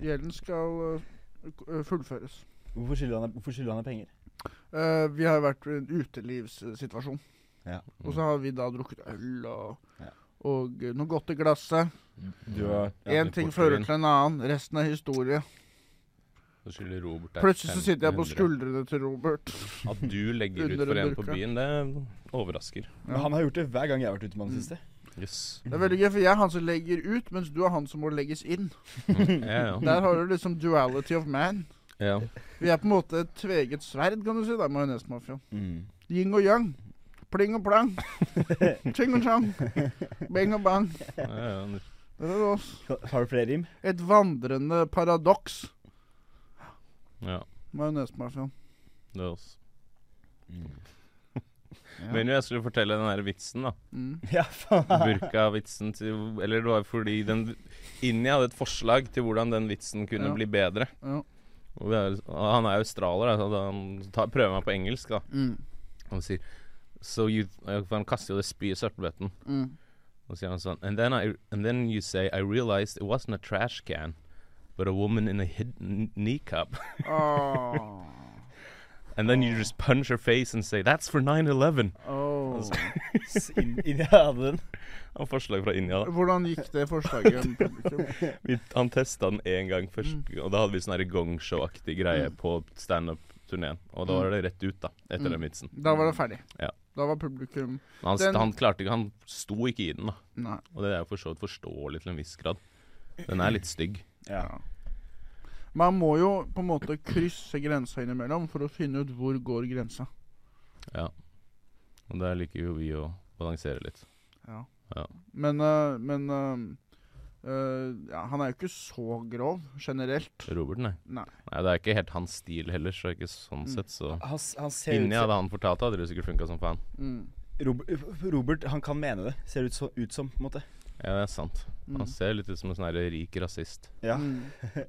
Speaker 4: Gjelden skal øh, k- øh, fullføres.
Speaker 3: Hvorfor skylder han, hvorfor skylder han deg penger?
Speaker 4: Eh, vi har vært i en utelivssituasjon,
Speaker 3: Ja.
Speaker 4: og så har vi da drukket øl og,
Speaker 3: Ja.
Speaker 4: og øh, noe godt i glasset.
Speaker 3: Du har
Speaker 4: Én ting fører til en annen, resten er historie.
Speaker 5: Så skylder Robert deg
Speaker 4: Plutselig så sitter jeg på
Speaker 5: 1500.
Speaker 4: skuldrene til Robert.
Speaker 5: At du legger ut
Speaker 4: Under
Speaker 5: for
Speaker 4: en
Speaker 5: en på
Speaker 4: burka.
Speaker 5: byen, det overrasker.
Speaker 3: Men han har gjort det hver gang jeg har vært ute med han det siste.
Speaker 5: Jøss.
Speaker 4: Det er veldig gøy, for jeg er han som legger ut, mens du er han som må legges inn.
Speaker 5: Mm, Ja, ja.
Speaker 4: Der har du liksom duality of man.
Speaker 5: ja.
Speaker 4: Vi er på en måte et tveget sverd, kan du si, da, majonesmafiaen. Yin og yang. Pling og plang. Ching og chang. Bing og bang.
Speaker 5: ja, ja.
Speaker 4: Det er oss.
Speaker 3: Har du flere rim?
Speaker 4: Et vandrende paradoks,
Speaker 5: ja.
Speaker 4: majonesmafiaen.
Speaker 5: Det er oss.
Speaker 3: Mm.
Speaker 4: Ja.
Speaker 5: Men jo, jeg skulle fortelle den her vitsen, da.
Speaker 4: Mm.
Speaker 3: Ja, faen.
Speaker 5: Burka-vitsen til Eller det var fordi den Inni hadde et forslag til hvordan den vitsen kunne
Speaker 4: Ja.
Speaker 5: bli bedre.
Speaker 4: Ja.
Speaker 5: Og det er, og han er australier, da, så han tar, prøver meg på engelsk, da.
Speaker 4: Mm.
Speaker 5: Han sier so you, For han kaster jo det spyet i søppelbøtten.
Speaker 4: Mm.
Speaker 5: Og så sier han sånn and then, I, and then you say I realized it wasn't a trash can, but a woman in a hidden kneecap.
Speaker 4: Åh.
Speaker 5: And then you just punch her face and say that's for 9-11.
Speaker 4: Åh.
Speaker 3: Inn, inn, jeg hadde den.
Speaker 5: Og forslag fra India. da.
Speaker 4: Hvordan gikk det forslaget med publikum?
Speaker 5: Vi, han testa den én gang først,
Speaker 4: Mm.
Speaker 5: og da hadde vi sånn her
Speaker 4: Mm.
Speaker 5: gongshow-aktig greie på standup-turneen. Og da var det rett ut, da, etter den vitsen.
Speaker 4: Da var det ferdig.
Speaker 5: Ja.
Speaker 4: Da Da var publikum
Speaker 5: Men han,
Speaker 4: Den-
Speaker 5: han klarte ikke Han sto ikke i den, da.
Speaker 4: Nei.
Speaker 5: Og det er jo for så vidt forståelig til en viss grad. Den er litt stygg.
Speaker 3: Ja.
Speaker 4: Man må jo på en måte krysse grensa innimellom for å finne ut hvor går grensa.
Speaker 5: Og der liker jo vi å balansere litt.
Speaker 4: Ja.
Speaker 5: Ja.
Speaker 4: Men, eh, men eh, eh, ja, han er jo ikke så grov generelt.
Speaker 5: Robert, nei.
Speaker 4: Nei.
Speaker 5: Det er ikke helt hans stil heller, så ikke sånn
Speaker 4: Mm.
Speaker 5: sett, så
Speaker 3: Han, s- han ser
Speaker 5: Inni
Speaker 3: ut
Speaker 5: hadde han fortalt, hadde det sikkert funka som faen.
Speaker 4: Mm.
Speaker 3: som Robert, Robert, han kan mene det. Ser ut, så, ut som, på en måte.
Speaker 5: Ja, det er sant.
Speaker 4: Mm.
Speaker 5: Han ser litt ut som en sånn her rik rasist.
Speaker 3: Ja,
Speaker 4: Mm.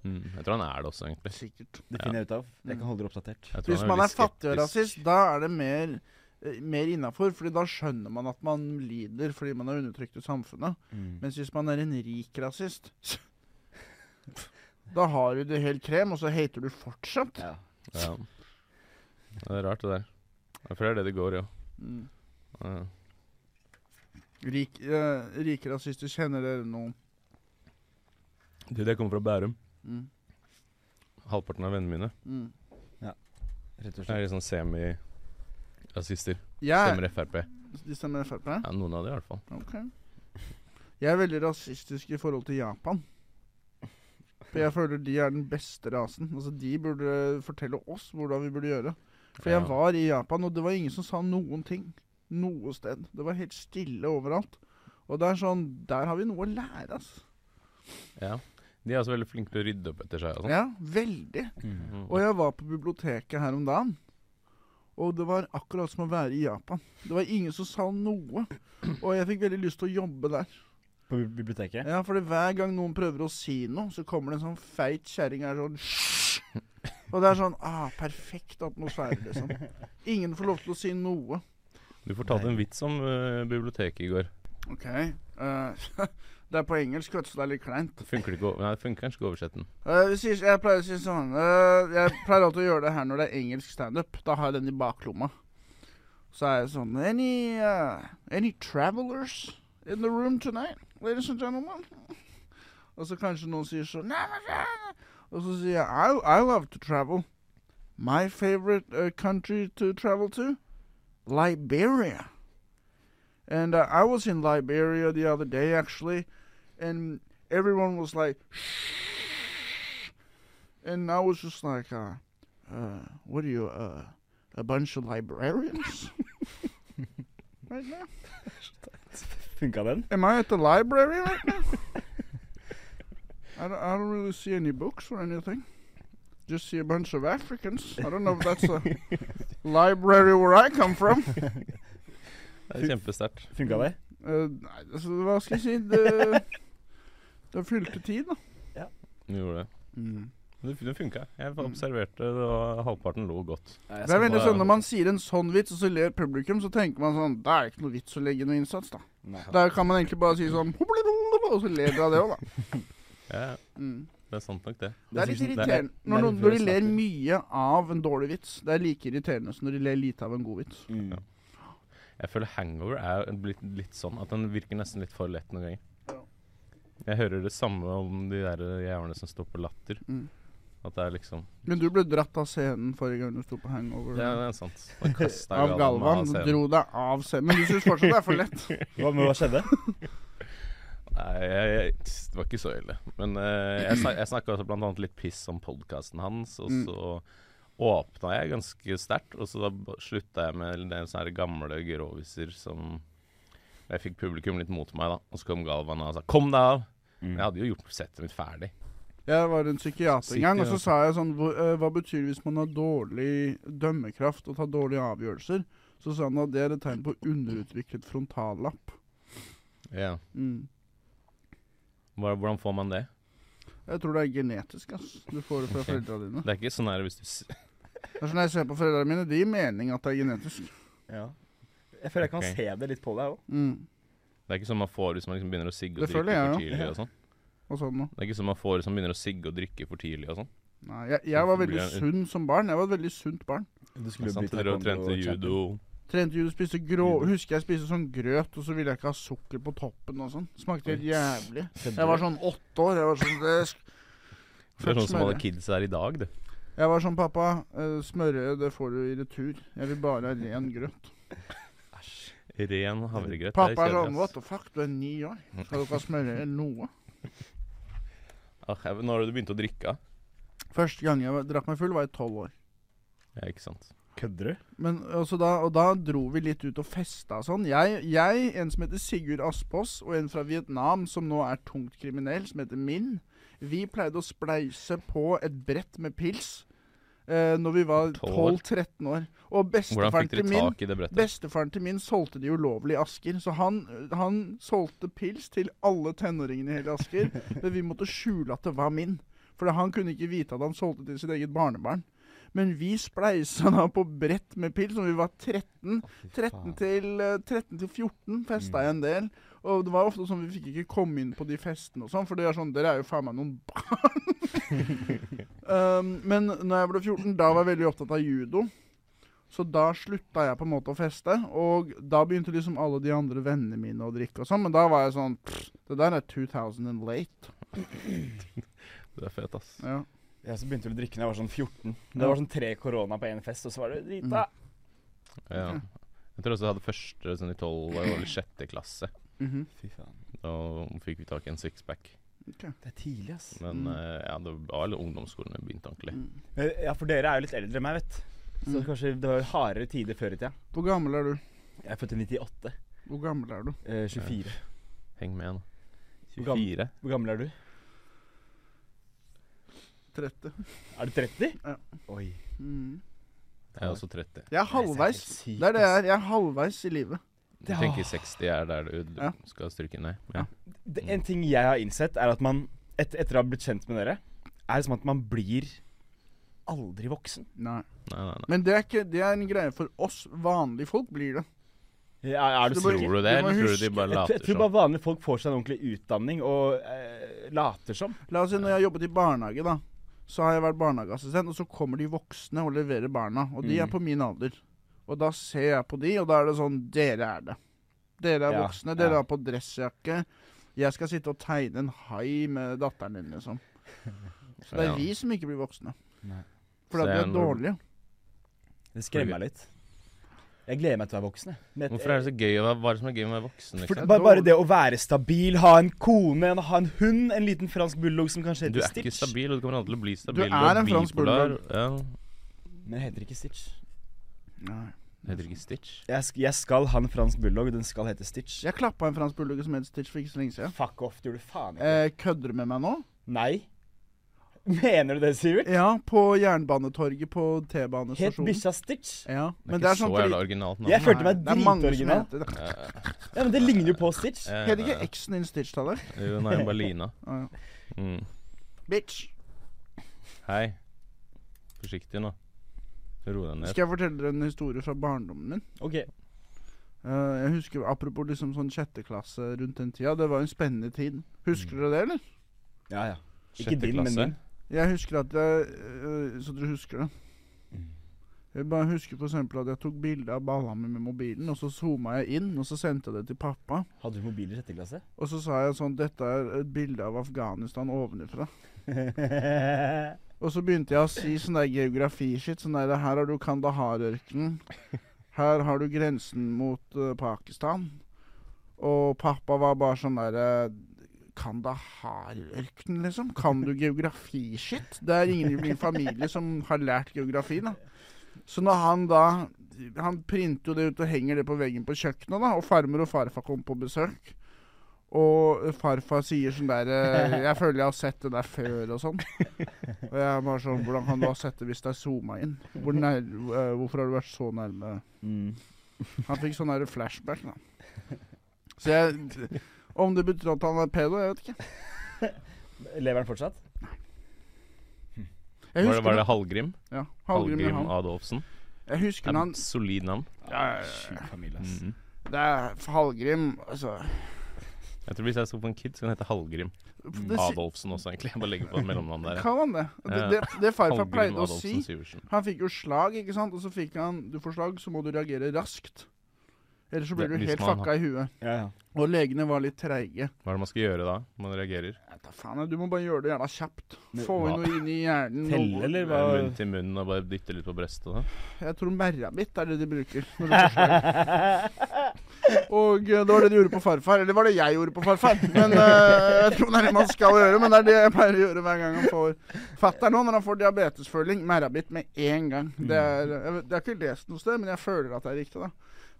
Speaker 5: Mm. Jeg tror han er det også, egentlig.
Speaker 4: Ah, Sikkert.
Speaker 3: Det finner jeg ut av. Jeg kan holde dere oppdatert.
Speaker 5: Jeg tror
Speaker 4: Hvis
Speaker 5: han
Speaker 4: man
Speaker 5: litt
Speaker 4: er fattig og
Speaker 5: skeptisk.
Speaker 4: rasist, da er det mer, eh, mer innafor. Fordi da skjønner man at man lider fordi man er undertrykt i samfunnet.
Speaker 3: Mm.
Speaker 4: Mens hvis man er en rik rasist Da har du det helt krem, og så hater du fortsatt.
Speaker 3: Ja.
Speaker 5: Ja. Ja, Det er rart, det der. Jeg føler det er det det går i,
Speaker 4: Mm.
Speaker 5: ja.
Speaker 4: Rik, eh, rike rasister, kjenner dere noen?
Speaker 5: Du, jeg kommer fra Bærum.
Speaker 4: Mm.
Speaker 5: Halvparten av vennene mine
Speaker 4: Mm.
Speaker 3: Rett og
Speaker 5: er
Speaker 3: slett.
Speaker 5: litt sånn semi-rasister.
Speaker 4: Jeg,
Speaker 5: Stemmer Frp.
Speaker 4: de stemmer Frp?
Speaker 5: Ja, noen av de i hvert fall.
Speaker 4: Ok. Jeg er veldig rasistisk i forhold til Japan. For jeg føler de er den beste rasen. Altså, De burde fortelle oss hvordan vi burde gjøre. For jeg
Speaker 5: Ja.
Speaker 4: var i Japan, og det var ingen som sa noen ting. Noe sted. Det var helt stille overalt. Og det er sånn Der har vi noe å lære, ass.
Speaker 5: Ja. De er også veldig flinke til å rydde opp etter seg og sånn. Mm.
Speaker 4: Ja, veldig. Og jeg var på biblioteket her om dagen, og det var akkurat som å være i Japan. Det var ingen som sa noe, og jeg fikk veldig lyst til å jobbe der.
Speaker 3: På bi- biblioteket?
Speaker 4: Ja, fordi hver gang noen prøver å si noe, så kommer det en sånn feit kjerring her sånn Og det er sånn ah, Perfekt atmosfære, liksom. Ingen får lov til å si noe.
Speaker 5: Du fortalte
Speaker 3: Nei.
Speaker 5: en vits om eh, biblioteket i går.
Speaker 4: OK. eh, det er på engelsk, vet du, så det er litt kleint.
Speaker 5: Funker det ikke å- Nei, det funker kanskje ikke å oversette den.
Speaker 4: Eh, vi sier, jeg pleier å si sånn eh, Jeg pleier alltid å gjøre det her når det er engelsk standup. Da har jeg den i baklomma. Så er jeg sånn Any, eh, any travelers in the room tonight, ladies and gentlemen? Og så kanskje noen sier sånn «Nei, men det er-» Og så sier jeg I, I love to travel. My favorite uh, country to travel to? Liberia. And uh, I was in Liberia the other day, actually, and everyone was like, and I was just like, uh, uh, what are you, uh, a bunch of librarians? right now?
Speaker 3: Funka den?
Speaker 4: Am I at the library right now? I, don't, I don't really see any books or anything. Just see a bunch of Africans. I don't know if that's a library where I come from.
Speaker 5: Det er kjempesterkt.
Speaker 3: Funka det?
Speaker 4: Uh, nei, altså, hva skal jeg si? Det, det fylte tid, da.
Speaker 5: Du gjorde det. Det, det funka. Jeg observerte det, og halvparten lo godt.
Speaker 4: Det er veldig sånn Når man sier en sånn vits, og så ler publikum, så tenker man sånn Da er det ikke noe vits å legge noe innsats, da. Der kan man egentlig bare si sånn Og så ler dere av det òg, da.
Speaker 5: Ja, ja.
Speaker 4: Mm.
Speaker 5: det er sant nok, det.
Speaker 4: Det er litt
Speaker 5: det er-
Speaker 4: irriterende
Speaker 3: det
Speaker 4: når,
Speaker 3: er
Speaker 4: noen,
Speaker 3: litt
Speaker 4: når de
Speaker 3: før
Speaker 4: ler
Speaker 3: jeg
Speaker 4: mye av en dårlig vits. Det er like irriterende som når de ler lite av en god vits.
Speaker 3: Mm.
Speaker 5: Jeg føler hangover er jo blitt litt sånn at den virker nesten litt for lett noen ganger. Jeg hører det samme om de der jævlene som står på latter.
Speaker 4: Mm.
Speaker 5: At det er liksom
Speaker 4: Men du ble dratt av scenen forrige gang du sto på hangover.
Speaker 5: Ja, det er sant. Da kastet
Speaker 4: Av
Speaker 5: jeg
Speaker 4: Galvan.
Speaker 5: meg av scenen.
Speaker 4: Dro deg av scenen. Men du syns fortsatt det er for lett.
Speaker 3: Hva, men hva skjedde?
Speaker 5: Nei, jeg, jeg, det var ikke så ille. Men eh, jeg, snak- jeg snakka også blant annet litt piss om podkasten hans, og
Speaker 4: Mm.
Speaker 5: så åpna jeg ganske sterkt, og så da b- slutta jeg med en del sånne her gamle groviser som Jeg fikk publikum litt mot meg, da, og så kom Galvan og sa 'kom deg av'.
Speaker 3: Mm.
Speaker 5: Men Jeg hadde jo gjort settet mitt ferdig.
Speaker 4: Jeg var en psykiater en gang, og så
Speaker 5: Sitter,
Speaker 4: sa jeg sånn Hva, eh, hva betyr det hvis man har dårlig dømmekraft og tar dårlige avgjørelser? Så sa han at det er et tegn på underutviklet frontallapp.
Speaker 5: Ja.
Speaker 4: Mm.
Speaker 5: Hva- Hvordan får man det?
Speaker 4: Jeg tror det er genetisk, ass. Du får det fra
Speaker 5: Ok.
Speaker 4: foreldra dine.
Speaker 5: Det er ikke sånn her hvis du s-
Speaker 4: Det er sånn jeg ser på foreldra mine, de gir mening at det er genetisk.
Speaker 3: Ja. Jeg føler jeg kan
Speaker 5: Ok.
Speaker 3: se det litt på deg òg.
Speaker 4: Mm.
Speaker 5: Det er ikke sånn man får hvis man liksom begynner å sigge og
Speaker 4: Det
Speaker 5: drikke
Speaker 4: føler jeg
Speaker 5: for
Speaker 4: jo.
Speaker 5: tidlig og sånn.
Speaker 4: Og sånn nå.
Speaker 5: Det er ikke sånn man får hvis man begynner å sigge og drikke for tidlig og sånn.
Speaker 4: Nei, jeg, jeg var
Speaker 5: Hvorfor
Speaker 4: veldig
Speaker 5: blir jeg-
Speaker 4: sunn som barn. Jeg var et veldig sunt barn.
Speaker 3: Du
Speaker 5: Det er sant, Dere trente judo.
Speaker 4: Trente judo, spiste grå
Speaker 3: Judo.
Speaker 4: Husker jeg spiste sånn grøt, og så ville jeg ikke ha sukker på toppen og sånn. Smakte helt
Speaker 5: Oi.
Speaker 4: jævlig. Jeg var sånn åtte år. Jeg var sånn det sk-
Speaker 5: Det er sånn som alle
Speaker 4: Smøre.
Speaker 5: kids er i dag, det.
Speaker 4: Jeg var sånn, pappa, eh, smørøye, det får du i retur. Jeg vil bare ha ren grøt.
Speaker 5: Æsj. Ren havregrøt. det
Speaker 4: Pappa er
Speaker 5: kjedelig,
Speaker 4: sånn
Speaker 5: ass.
Speaker 4: What the fuck, du er ni år. Skal dere smøre noe?
Speaker 5: Ah, jeg vet- Når har du begynt å drikke?
Speaker 4: Første gang jeg var- drakk meg full, var jeg tolv år.
Speaker 5: Ja, ikke sant.
Speaker 3: Kødder du?
Speaker 4: Men altså da, Og da dro vi litt ut og festa og sånn. Jeg, jeg, en som heter Sigurd Aspås, og en fra Vietnam som nå er tungt kriminell, som heter Min, vi pleide å spleise på et brett med pils eh, når vi var
Speaker 5: Tolv år?
Speaker 4: 12-13 år. Og
Speaker 5: Hvordan
Speaker 4: bestefaren
Speaker 5: fikk
Speaker 4: til
Speaker 5: dere
Speaker 4: min
Speaker 5: tak i det brettet?
Speaker 4: Bestefaren til min solgte det ulovlig i Asker, så han, han solgte pils til alle tenåringene i hele Asker. Men vi måtte skjule at det var min, for han kunne ikke vite at han solgte til sitt eget barnebarn. Men vi spleisa da på brett med pils når vi var 13. 13 til, eh, 13 til 14 festa jeg en del. Og det var ofte sånn vi fikk ikke komme inn på de festene og sånn, for det er sånn, dere er jo faen meg noen barn. um, men når jeg ble 14, da var jeg veldig opptatt av judo. Så da slutta jeg på en måte å feste, og da begynte liksom alle de andre vennene mine å drikke og sånn, men da var jeg sånn pff, Det der er 2000 and late.
Speaker 5: Du er fet, ass.
Speaker 4: Ja.
Speaker 3: Jeg så begynte vel å drikke da jeg var sånn 14. Det var sånn tre korona på én fest, og så var det drita.
Speaker 4: Mm.
Speaker 5: Ja. Jeg tror også jeg hadde første sånn i tolv år, eller sjette klasse.
Speaker 4: Mhm.
Speaker 3: Fy faen.
Speaker 5: Da fikk vi tak i en sixpack.
Speaker 3: Det er tidlig, ass.
Speaker 5: Men
Speaker 4: Mm.
Speaker 5: eh, ja, det var vel ungdomsskolen jeg begynte ordentlig.
Speaker 3: Men, Ja, for dere er jo litt eldre enn meg, vet du. Så
Speaker 4: Mm.
Speaker 3: kanskje det var jo hardere tider før i tida.
Speaker 4: Hvor gammel er du?
Speaker 3: Jeg er født i 98.
Speaker 4: Hvor gammel er du?
Speaker 3: Eh, 24.
Speaker 5: Heng med, da.
Speaker 3: Hvor gammel-
Speaker 5: 24?
Speaker 3: Hvor gammel er du?
Speaker 4: 30.
Speaker 3: Er du 30?
Speaker 4: Ja.
Speaker 3: Oi.
Speaker 4: Mm.
Speaker 5: Jeg er også 30.
Speaker 4: Jeg er halvveis.
Speaker 3: helt sykt,
Speaker 4: Det er det jeg er. Jeg er halvveis i livet.
Speaker 5: Du tenker 60 er der du du
Speaker 4: Ja.
Speaker 5: skal stryke ned. Ja. Mm.
Speaker 3: Det, en ting jeg har innsett, er at man et, etter å ha blitt kjent med dere, er det som at man blir aldri voksen.
Speaker 4: Nei.
Speaker 5: Nei, nei, nei.
Speaker 4: Men det er, ikke, det er en greie for oss vanlige folk, blir det.
Speaker 3: Er, er du
Speaker 4: Så du bare-
Speaker 3: sikker?
Speaker 5: Tror
Speaker 4: du
Speaker 5: du det,
Speaker 4: må
Speaker 5: eller tror du
Speaker 4: huske-
Speaker 5: de bare
Speaker 3: Jeg, jeg
Speaker 5: later
Speaker 3: tror
Speaker 5: som?
Speaker 3: bare vanlige folk får seg en ordentlig utdanning og eh, later som.
Speaker 4: La oss si når jeg har jobbet i barnehage, da. Så har jeg vært barnehageassistent, og så kommer de voksne og leverer barna. Og de er
Speaker 3: Mm.
Speaker 4: på min alder. Og da ser jeg på de, og da er det sånn Dere er det. Dere er
Speaker 3: Ja,
Speaker 4: voksne, dere
Speaker 3: ja.
Speaker 4: har på dressjakke. Jeg skal sitte og tegne en hai med datteren din, liksom. Så det er
Speaker 5: Ja.
Speaker 4: vi som ikke blir voksne.
Speaker 3: Nei.
Speaker 4: For
Speaker 5: Så
Speaker 4: de
Speaker 5: jeg
Speaker 4: er
Speaker 5: er en-
Speaker 4: dårlige.
Speaker 3: Det skremmer meg litt. Jeg gleder meg til å være voksen. jeg. Men et-
Speaker 5: Hvorfor er det så gøy å være, hva er det som er gøy med å være voksen? liksom?
Speaker 3: For,
Speaker 5: Ikke sant?
Speaker 4: Det
Speaker 3: bare,
Speaker 4: er
Speaker 3: bare
Speaker 4: dårlig.
Speaker 3: det å være stabil, ha en kone, en- ha en hund, en liten fransk bulldog som kanskje heter
Speaker 5: Du er
Speaker 3: Stitch.
Speaker 5: ikke stabil, og du kommer aldri til å bli stabil.
Speaker 4: er en fransk
Speaker 5: bipolar.
Speaker 4: bulldog.
Speaker 5: Ja.
Speaker 3: Men den heter ikke Stitch.
Speaker 4: Nei.
Speaker 5: Det Heter ikke Stitch?
Speaker 3: Jeg, sk jeg skal ha en fransk bulldog, og den skal hete Stitch.
Speaker 4: Jeg klappa en fransk bulldog som het Stitch for ikke så lenge siden.
Speaker 3: Fuck off, det gjorde du faen ikke.
Speaker 4: Eh, kødder du med meg nå?
Speaker 3: Nei. Mener du det, Sivert?
Speaker 4: Ja, på Jernbanetorget på
Speaker 3: Het
Speaker 4: T-banestasjonen.
Speaker 3: bikkja Stitch?
Speaker 4: Ja,
Speaker 5: Det er
Speaker 4: men det
Speaker 5: ikke
Speaker 4: er sånn
Speaker 5: så jævla
Speaker 4: fordi
Speaker 5: originalt navn.
Speaker 3: Jeg følte
Speaker 4: Nei,
Speaker 3: meg
Speaker 4: det er mange som
Speaker 3: dritoriginal.
Speaker 4: heter det.
Speaker 3: Ja, men det ligner jo på Stitch.
Speaker 5: Ja,
Speaker 4: Heter ikke
Speaker 5: ja,
Speaker 4: eksen din Stitch, Taller?
Speaker 5: ja. Jo, nei, bare Lina.
Speaker 4: Ah, ja.
Speaker 5: Mm.
Speaker 4: Bitch.
Speaker 5: Hei. Forsiktig nå. Ro deg ned.
Speaker 4: Skal jeg fortelle dere en historie fra barndommen min?
Speaker 3: Ok.
Speaker 4: Eh, jeg husker, Apropos liksom sånn sjette klasse rundt den tida. Det var en spennende tid.
Speaker 5: Mm.
Speaker 4: Husker dere det, eller?
Speaker 3: Ja, ja. Ikke
Speaker 5: Sjette
Speaker 3: din, men
Speaker 5: klasse.
Speaker 3: min.
Speaker 4: Jeg husker at jeg eh, Så dere husker det.
Speaker 5: Mm.
Speaker 4: Jeg bare husker for eksempel at jeg tok bilde av balla mi med mobilen, og så zooma jeg inn, og så sendte jeg det til pappa.
Speaker 3: Hadde du mobil i sjette klasse?
Speaker 4: Og så sa jeg sånn Dette er et bilde av Afghanistan ovenifra. Og så begynte jeg å si sånn der geografi-shit. Sånn der Her har du Kandahar-ørkenen. Her har du grensen mot eh, Pakistan. Og pappa var bare sånn derre Kandahar-ørkenen, liksom? Kan du geografi-shit? Det er ingen i min familie som har lært geografi, da. Så når han da Han printer jo det ut og henger det på veggen på kjøkkenet, da. Og farmor og farfar kom på besøk. Og farfar sier sånn der eh, Jeg føler jeg har sett det der før, og sånn. Og jeg er bare sånn Hvordan kan du ha sett det hvis det er zooma inn? Hvor nær, eh, hvorfor har du vært så nærme?
Speaker 3: Mm.
Speaker 4: Han fikk sånn der flashback, da. Så jeg Om det betyr at han er pedo, jeg vet ikke.
Speaker 3: Lever den fortsatt?
Speaker 4: Jeg
Speaker 5: Var det,
Speaker 4: husker
Speaker 5: var det Hallgrim?
Speaker 4: når- Ja, Hallgrim
Speaker 5: Hallgrim
Speaker 4: Johan.
Speaker 5: Adolfsen.
Speaker 4: Jeg husker når
Speaker 5: Ja,
Speaker 4: han
Speaker 5: solid navn.
Speaker 4: Ja,
Speaker 3: Sjuk familie, ass.
Speaker 5: Mhm.
Speaker 4: Det er Hallgrim, altså
Speaker 5: Jeg tror Hvis jeg så på en kid, så kan den hete Hallgrim.
Speaker 4: det, si-
Speaker 5: Adolfsen også, egentlig. Jeg bare legger på et mellomnavn der.
Speaker 4: Kall han det. Det,
Speaker 5: Ja.
Speaker 4: det, det farfar
Speaker 5: Hallgrim
Speaker 4: pleide å
Speaker 5: Adolfsen
Speaker 4: si
Speaker 5: Syversen.
Speaker 4: Han fikk jo slag, ikke sant? Og så fikk han Du får slag, så må du reagere raskt. Ellers så blir
Speaker 5: Det-
Speaker 4: du
Speaker 5: hvis
Speaker 4: helt
Speaker 5: man
Speaker 4: fucka i huet.
Speaker 3: Ja, ja.
Speaker 4: Og legene var litt treige.
Speaker 5: Hva er det man skal gjøre da? Man reagerer?
Speaker 4: Jeg vet da faen, Du må bare gjøre det gjerne kjapt.
Speaker 3: Men-
Speaker 4: Få
Speaker 5: Hva?
Speaker 4: noe inn i hjernen.
Speaker 3: Telle, eller hva?
Speaker 5: Munn til munn og bare dytte litt på brøstet? da
Speaker 4: Jeg tror merra mitt er det de bruker. Når du får slag. Og eh, det var det de gjorde på farfar. Eller var det jeg gjorde på farfar? Men eh, Jeg vet ikke om det er det man skal gjøre, men det er det jeg pleier å gjøre hver gang han får Fatter'n nå, når han får diabetesføling, merrabit med en gang. Det er, jeg, vet- det er ikke lest noe sted, men jeg føler at det er riktig, da.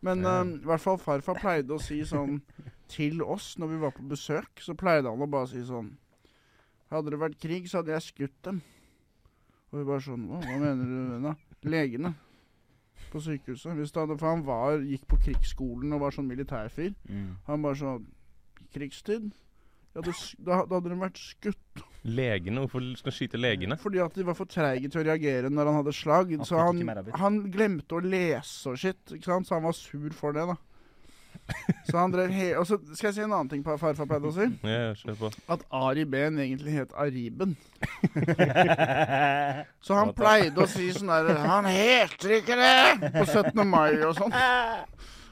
Speaker 4: Men eh, i hvert fall farfar pleide å si sånn til oss når vi var på besøk, så pleide han å bare si sånn Hadde det vært krig, så hadde jeg skutt dem. Og vi bare sånn Hva, hva mener du da? Legene på sykehuset. Hvis det hadde, for han var, gikk på krigsskolen og var sånn militærfyr.
Speaker 3: Mm.
Speaker 4: Han bare sånn Krigstid? Ja, det, s- da, da hadde de vært skutt.
Speaker 5: Legene? Hvorfor skal han skyte legene?
Speaker 4: Fordi at de var for treige til å reagere når han hadde slag.
Speaker 3: Han
Speaker 4: så
Speaker 3: fikk
Speaker 4: han,
Speaker 3: ikke merabit.
Speaker 4: han glemte å lese og shit, ikke sant? så han var sur for det, da. Så han drev he Og så skal jeg si en annen ting pa- farfar pleide å si.
Speaker 5: Ja, kjør på.
Speaker 4: At Ari Behn egentlig het Ariben. Så han pleide å si sånn derre Han heter ikke det! På 17. mai og sånn.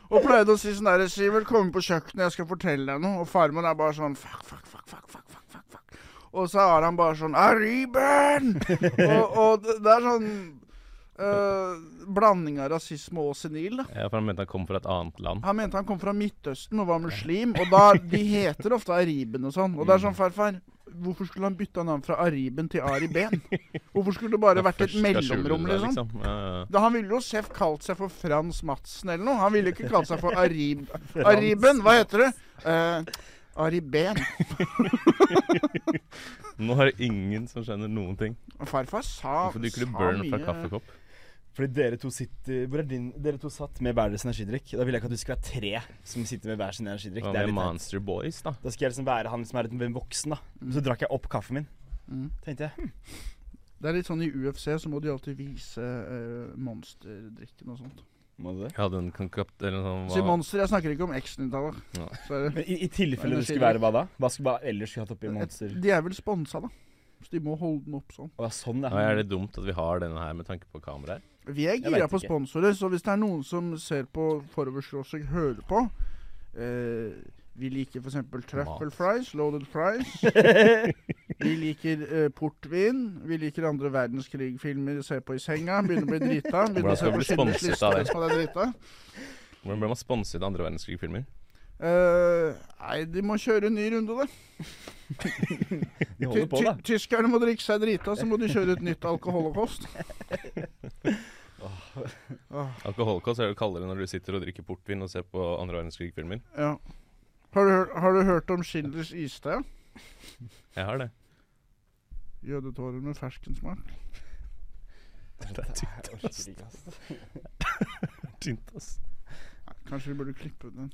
Speaker 4: Og pleide å si sånn derre Sivert, kom inn på kjøkkenet, jeg skal fortelle deg noe. Og farmor er bare sånn fuck, fuck, fuck, fuck, fuck, fuck, fuck, fuck. Og så er han bare sånn Ariben! og, og det det er sånn øh, blanding av rasisme og senil, da.
Speaker 5: Ja, for han mente han kom fra et annet land.
Speaker 4: Han mente han kom fra Midtøsten og var muslim, og da, de heter ofte Ariben og sånn. Og det er sånn, farfar, hvorfor skulle han bytta navn fra Ariben til Ari Ben? Hvorfor skulle det bare vært et
Speaker 5: Først skal jeg skjule
Speaker 4: mellomrom,
Speaker 5: det der,
Speaker 4: liksom?
Speaker 5: Ja, ja.
Speaker 4: Da han ville jo sjef kalt seg for Frans Madsen eller noe. Han ville ikke kalt seg for Arib... Ariben, hva heter du? Uh, Ari Ben.
Speaker 5: Nå er det ingen som skjønner noen ting.
Speaker 4: Og Farfar sa
Speaker 5: Hvorfor drikker du
Speaker 4: sa
Speaker 5: burn fra
Speaker 4: mye.
Speaker 5: kaffekopp?
Speaker 3: Fordi dere to sitter Hvor er din Dere to satt med hver deres energidrikk. Da vil jeg ikke at du skal være tre som sitter med hver sin energidrikk.
Speaker 5: Hva
Speaker 3: Det er
Speaker 5: med
Speaker 3: litt teit.
Speaker 5: Monster Boys, da?
Speaker 3: Da skal jeg liksom være han som er en voksen, da. Så drakk jeg opp kaffen min.
Speaker 4: Mm.
Speaker 3: Tenkte jeg. hm.
Speaker 4: Det er litt sånn i UFC, så må de alltid vise eh, monsterdrikken og sånt.
Speaker 3: Må du det?
Speaker 5: Jeg hadde en sånn- konkapt eller noe
Speaker 4: Si
Speaker 5: sånt.
Speaker 4: monster, jeg snakker ikke om X-Nintendo.
Speaker 5: Nei.
Speaker 4: Så er det-
Speaker 3: Men i, i tilfelle det skulle være hva da? Hva skulle hva ellers skulle hatt oppi Monster?
Speaker 4: De er vel sponsa, da. Så de må holde den opp sånn.
Speaker 3: Å, ja, sånn,
Speaker 5: Hva
Speaker 3: ja.
Speaker 5: er det dumt at vi har denne her med tanke på kameraer?
Speaker 4: Vi er
Speaker 3: Jeg
Speaker 4: gira
Speaker 3: vet
Speaker 4: på
Speaker 3: ikke.
Speaker 4: sponsorer, så hvis det er noen som ser på Foroverskråstrek, hører på eh, Vi liker f.eks. truffle
Speaker 5: Mat.
Speaker 4: fries, loaded fries. vi liker eh, portvin. Vi liker andre verdenskrig-filmer, se på i senga. Begynner å bli drita. Begynner å se
Speaker 5: Hvordan skal
Speaker 4: på
Speaker 5: vi bli
Speaker 4: Schindlers
Speaker 5: sponset av
Speaker 4: liste,
Speaker 5: det?
Speaker 4: som er drita.
Speaker 5: Hvordan ble man sponset av andre verdenskrig-filmer?
Speaker 4: Eh, nei, de må kjøre en ny runde, da.
Speaker 3: De holder på, da.
Speaker 4: Ty- ty- Tyskerne må drikke seg drita, så må de kjøre et nytt alkoholokost.
Speaker 5: Alkoholkost er det du kaller det når du sitter og drikker portvin og ser på andre verdenskrig-filmer.
Speaker 4: Ja. Har du, hør- har du hørt om Schindlers iste?
Speaker 5: Jeg har det.
Speaker 4: Jødetårer med ferskensmak.
Speaker 5: Det er tynt,
Speaker 3: Jeg orker ikke, ass.
Speaker 5: tynt ass.
Speaker 4: Nei, Kanskje vi burde klippe ut den.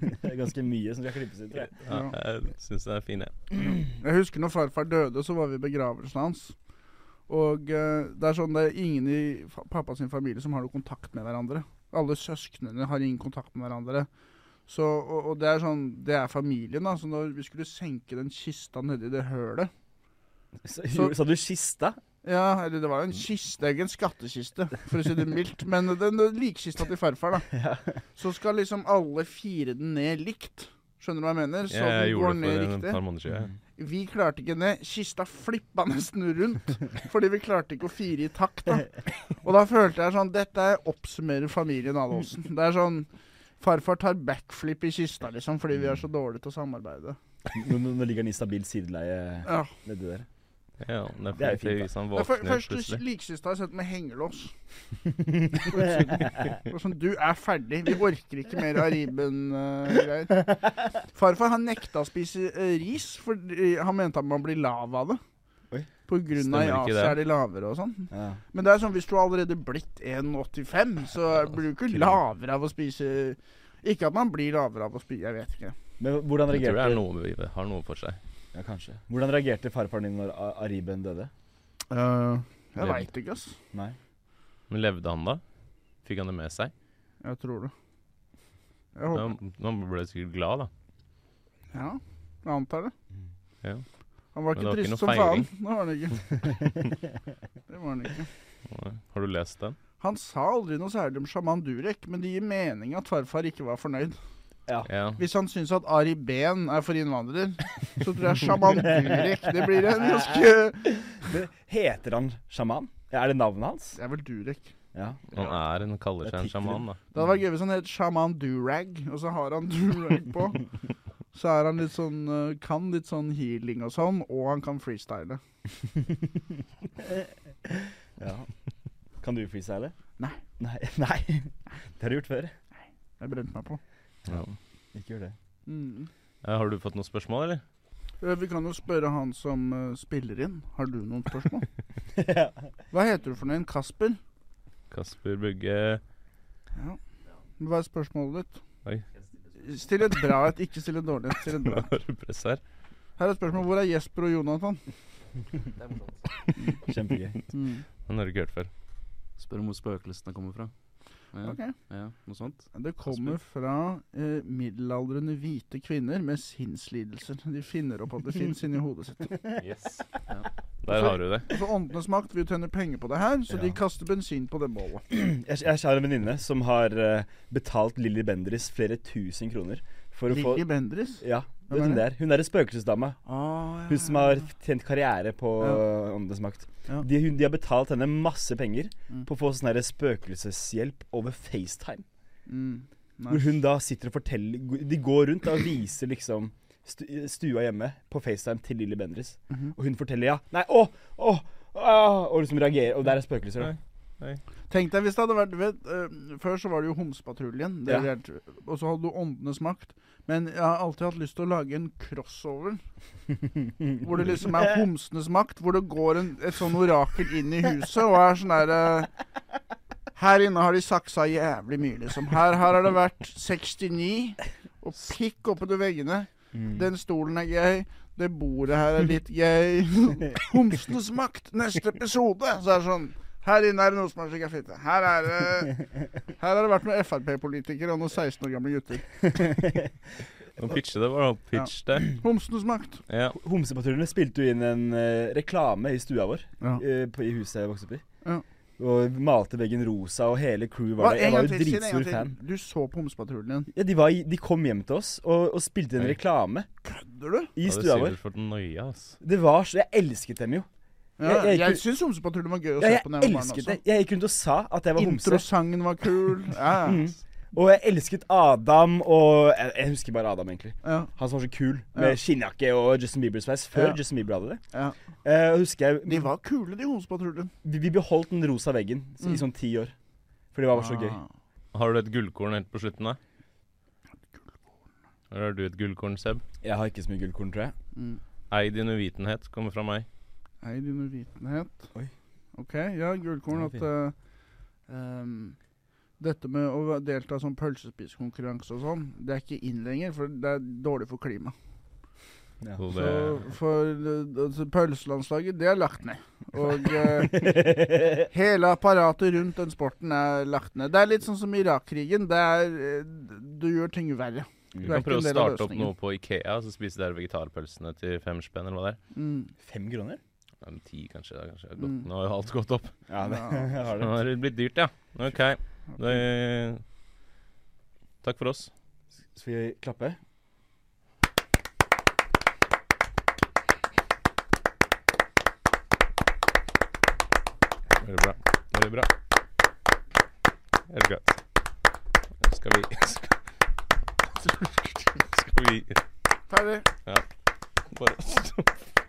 Speaker 3: Det er ganske mye som skal klippes ut. tror jeg.
Speaker 5: Ja, jeg syns det er fint, jeg.
Speaker 4: Jeg husker når farfar døde, så var vi i begravelsen hans. Og eh, det er sånn det er ingen i fa pappa sin familie som har noe kontakt med hverandre. Alle søsknene har ingen kontakt med hverandre. Så, og, og det er sånn, det er familien, da. Så når vi skulle senke den kista nedi det hølet
Speaker 3: Så, gjorde- sa du kista?
Speaker 4: Ja, eller det var jo en kiste, det er jo ikke en skattkiste, for å si det mildt. Men den den likkista til farfar, da. Så skal liksom alle fire den ned likt. Skjønner du hva jeg mener? Så
Speaker 5: Jeg
Speaker 4: den går
Speaker 5: gjorde det
Speaker 4: ned
Speaker 5: for et
Speaker 4: riktig.
Speaker 5: par måneder
Speaker 3: Mm.
Speaker 5: siden.
Speaker 4: Vi klarte ikke ned. Kista flippa nesten rundt. Fordi vi klarte ikke å fire i takt, da. Og da følte jeg sånn Dette oppsummerer familien Adolfsen. Det er sånn Farfar tar backflip i kista, liksom, fordi vi er så dårlige til å samarbeide.
Speaker 3: Nå, nå nå ligger den i stabilt sideleie
Speaker 4: Ja.
Speaker 3: nedi der.
Speaker 5: Ja, det
Speaker 3: Det er jo fint, da.
Speaker 5: er fordi hvis han
Speaker 4: Det er fyr-
Speaker 5: våkner
Speaker 4: første
Speaker 5: plutselig
Speaker 4: likkista jeg har sett med hengelås. På utsiden. Det var Sånn, du er ferdig. Vi orker ikke mer av Riben-greier. Farfar han nekta å spise eh, ris, fordi eh, han mente at man blir lav av det.
Speaker 3: Oi.
Speaker 4: På grunn av i
Speaker 5: Stemmer ikke
Speaker 4: Asia
Speaker 5: det?
Speaker 4: er de lavere og sånn.
Speaker 3: Ja.
Speaker 4: Men det er sånn, hvis du har allerede blitt 1,85, så blir du ikke lavere av å spise Ikke at man blir lavere av å spise Jeg vet ikke.
Speaker 3: Men hvordan
Speaker 5: Jeg tror det
Speaker 3: reagerte
Speaker 5: er noe vi har noe for seg.
Speaker 3: Ja, kanskje. Hvordan reagerte farfaren din når A- Ariben døde?
Speaker 4: Eh, jeg
Speaker 5: Levd.
Speaker 4: veit ikke, ass.
Speaker 3: Nei.
Speaker 5: Men levde han da? Fikk han det med seg?
Speaker 4: Jeg tror det. Jeg håper
Speaker 5: Han han ble sikkert glad, da.
Speaker 4: Ja, jeg antar det.
Speaker 5: Ja.
Speaker 4: Han var
Speaker 5: Men det
Speaker 4: ikke
Speaker 5: var ikke
Speaker 4: trist
Speaker 5: noe
Speaker 4: som faen.
Speaker 5: feiring.
Speaker 4: Det var han ikke. det var han ikke.
Speaker 5: Nei. Har du lest den?
Speaker 4: Han sa aldri noe særlig om sjaman Durek, men det gir mening at farfar ikke var fornøyd.
Speaker 5: Ja.
Speaker 4: Hvis han syns at Ari Behn er for innvandrer, så tror jeg sjaman Durek Det blir en ganske
Speaker 3: Det, heter han sjaman? Ja, er det navnet hans?
Speaker 4: Det er vel Durek.
Speaker 3: Ja.
Speaker 5: Han er en, kaller seg en
Speaker 3: Det er
Speaker 5: sjaman, da.
Speaker 4: Det hadde vært gøy hvis han het Shaman Durag, og så har han durag på. Så er han litt sånn eh, Kan litt sånn healing og sånn, og han kan freestyle.
Speaker 3: ja. Kan du freestyle?
Speaker 4: Nei.
Speaker 3: Nei. Nei. Det har du gjort før.
Speaker 4: Jeg brente meg på.
Speaker 5: Ja.
Speaker 3: Ikke gjør det.
Speaker 4: Mm.
Speaker 5: Eh, Har du fått noen spørsmål, eller?
Speaker 4: Eh, Vi kan jo spørre han som eh, spiller inn. Har du noen spørsmål?
Speaker 3: ja.
Speaker 4: Hva heter du for noe? Kasper?
Speaker 5: Kasper Bugge
Speaker 4: Ja. Hva er spørsmålet ditt?
Speaker 5: Oi.
Speaker 4: Still et bra et, ikke still et dårlig et. Still et bra.
Speaker 5: Nå har du press her.
Speaker 4: Her er spørsmålet hvor er Jesper og Jonathan?
Speaker 3: Kjempegøy.
Speaker 4: Mm.
Speaker 5: Den har du ikke hørt før.
Speaker 7: Spør om hvor spøkelsene kommer fra. Ja,
Speaker 4: Ok.
Speaker 7: ja, noe sånt.
Speaker 4: Det kommer fra eh, middelaldrende hvite kvinner med sinnslidelser. De finner opp at det fins inni hodet sitt.
Speaker 5: Yes.
Speaker 7: Ja.
Speaker 5: Der har du det.
Speaker 4: For Åndenes makt vil jo tjene penger på det her, så de
Speaker 3: Ja.
Speaker 4: kaster bensin på det bålet.
Speaker 3: Jeg, jeg har en venninne som har eh, betalt Lilly Bendriss flere tusen kroner for å få
Speaker 4: Lilly Bendriss.
Speaker 3: Ja,
Speaker 4: Hvem
Speaker 3: vet
Speaker 4: er
Speaker 3: hun der. Hun er en spøkelsesdame.
Speaker 4: Ah, ja,
Speaker 3: Hun som
Speaker 4: ja,
Speaker 3: har
Speaker 4: ja.
Speaker 3: tjent karriere på
Speaker 4: Ja.
Speaker 3: eh, Åndenes makt.
Speaker 4: Ja.
Speaker 3: De, hun, de har betalt henne masse penger
Speaker 4: Mm.
Speaker 3: på å få sånn her spøkelseshjelp over FaceTime.
Speaker 4: mm. Nei.
Speaker 3: Hvor hun da sitter og forteller De går rundt da og viser liksom stu, stua hjemme på FaceTime til Lilly Bendriss.
Speaker 4: Mhm.
Speaker 3: Og hun forteller ja. Nei, å, å, å, og liksom reagerer. Og der er spøkelser, da.
Speaker 5: Nei.
Speaker 4: Tenk deg hvis det hadde vært vet, eh, Før så var det jo Homsepatruljen. det
Speaker 3: Ja.
Speaker 4: lærte vi. Og så hadde du Åndenes makt. Men jeg har alltid hatt lyst til å lage en crossover. Hvor det liksom er homsenes makt. Hvor det går en, et sånn orakel inn i huset og er sånn derre Her inne har de saksa jævlig mye, liksom. Her, her har det vært 69 og pikk oppunder veggene. Den stolen er gøy. Det bordet her er litt gøy. Homsenes makt, neste episode! Så er det sånn Her inne er det noe som er skikkelig fitte. Her er det Her har det vært noen Frp-politikere og noen 16 år gamle gutter.
Speaker 5: Å pitche det var å pitche det.
Speaker 4: Homsenes makt.
Speaker 5: Ja.
Speaker 3: Homsepatruljene spilte jo inn en eh, reklame i stua vår eh, på, i huset jeg vokste opp i.
Speaker 4: Ja.
Speaker 3: Og malte veggen rosa, og hele crew var
Speaker 4: Hva,
Speaker 3: der.
Speaker 4: en
Speaker 3: Jeg
Speaker 4: gang
Speaker 3: var jo
Speaker 4: til, Siden, en gang
Speaker 3: dritstor
Speaker 4: til.
Speaker 3: fan.
Speaker 4: Du så på Homsepatruljen.
Speaker 3: Ja, de, var, i- de kom hjem til oss og, og spilte en
Speaker 5: Oi.
Speaker 3: reklame
Speaker 4: Kødder du?
Speaker 3: i
Speaker 5: Ja, det
Speaker 3: stua
Speaker 5: sier
Speaker 3: vår.
Speaker 5: du for den nøye, ass.
Speaker 3: Det var så, Jeg elsket dem jo.
Speaker 4: Ja,
Speaker 3: Jeg- jeg-
Speaker 4: jeg jeg syns Homsepatruljen var gøy å
Speaker 3: Ja,
Speaker 4: se
Speaker 3: jeg
Speaker 4: på da jeg var
Speaker 3: elsket det.
Speaker 4: barn.
Speaker 3: Jeg gikk rundt og sa at jeg var
Speaker 4: også
Speaker 3: homse. Mm.
Speaker 4: Introsangen var kul. Ja, ja.
Speaker 3: Og jeg elsket Adam og jeg, jeg husker bare Adam, egentlig.
Speaker 4: ja.
Speaker 3: Han som var så kul med
Speaker 4: Ja.
Speaker 3: skinnjakke og Justin Bieber-sveis før
Speaker 4: Ja.
Speaker 3: Justin Bieber hadde det.
Speaker 4: Ja.
Speaker 3: Eh, og husker jeg,
Speaker 4: De var kule, de Homsepatruljen.
Speaker 3: vi, vi beholdt den rosa veggen i
Speaker 4: Mm. Ah.
Speaker 3: sånn ti år. For det var bare så gøy.
Speaker 5: Har du et gullkorn helt på slutten, da? Eller har du et gullkorn, Seb?
Speaker 3: Jeg har ikke så mye gullkorn, tror jeg.
Speaker 4: Mm.
Speaker 5: Ei din uvitenhet kommer fra meg.
Speaker 4: Hei, din uvitenhet.
Speaker 3: Oi.
Speaker 4: Ok, ja, gullkorn at
Speaker 5: Den
Speaker 4: eh, ehm, dette med å delta som pølsespisekonkurranse og sånn, det er ikke inn lenger, for det er dårlig for klimaet.
Speaker 3: Ja.
Speaker 5: Så
Speaker 4: Så
Speaker 5: det,
Speaker 4: for eh, altså, pølselandslaget, det er lagt ned. Og eh, hele apparatet rundt den sporten er lagt ned. Det er litt sånn som Irak-krigen. Det er eh, Du gjør ting verre.
Speaker 5: du
Speaker 4: det er
Speaker 5: kan
Speaker 4: ikke en
Speaker 5: prøve å
Speaker 4: del av
Speaker 5: starte opp
Speaker 4: løsningen.
Speaker 5: noe på Ikea, og så spise der vegetarpølsene til fem spenn, eller hva det er.
Speaker 4: Mm.
Speaker 3: Fem kroner?
Speaker 5: Nei, men ti, kanskje. Da, kanskje. Det har
Speaker 4: Mm.
Speaker 5: gått- Nå har jo alt gått opp.
Speaker 3: Ja, det
Speaker 4: Ja.
Speaker 3: jeg har
Speaker 5: Nå
Speaker 3: det.
Speaker 5: har det blitt dyrt, ja. OK. Det, takk for oss.
Speaker 3: Skal vi klappe?
Speaker 5: Veldig bra. Veldig bra. Helt greit. Skal vi Skal, skal vi
Speaker 4: Ferdig.
Speaker 5: Bare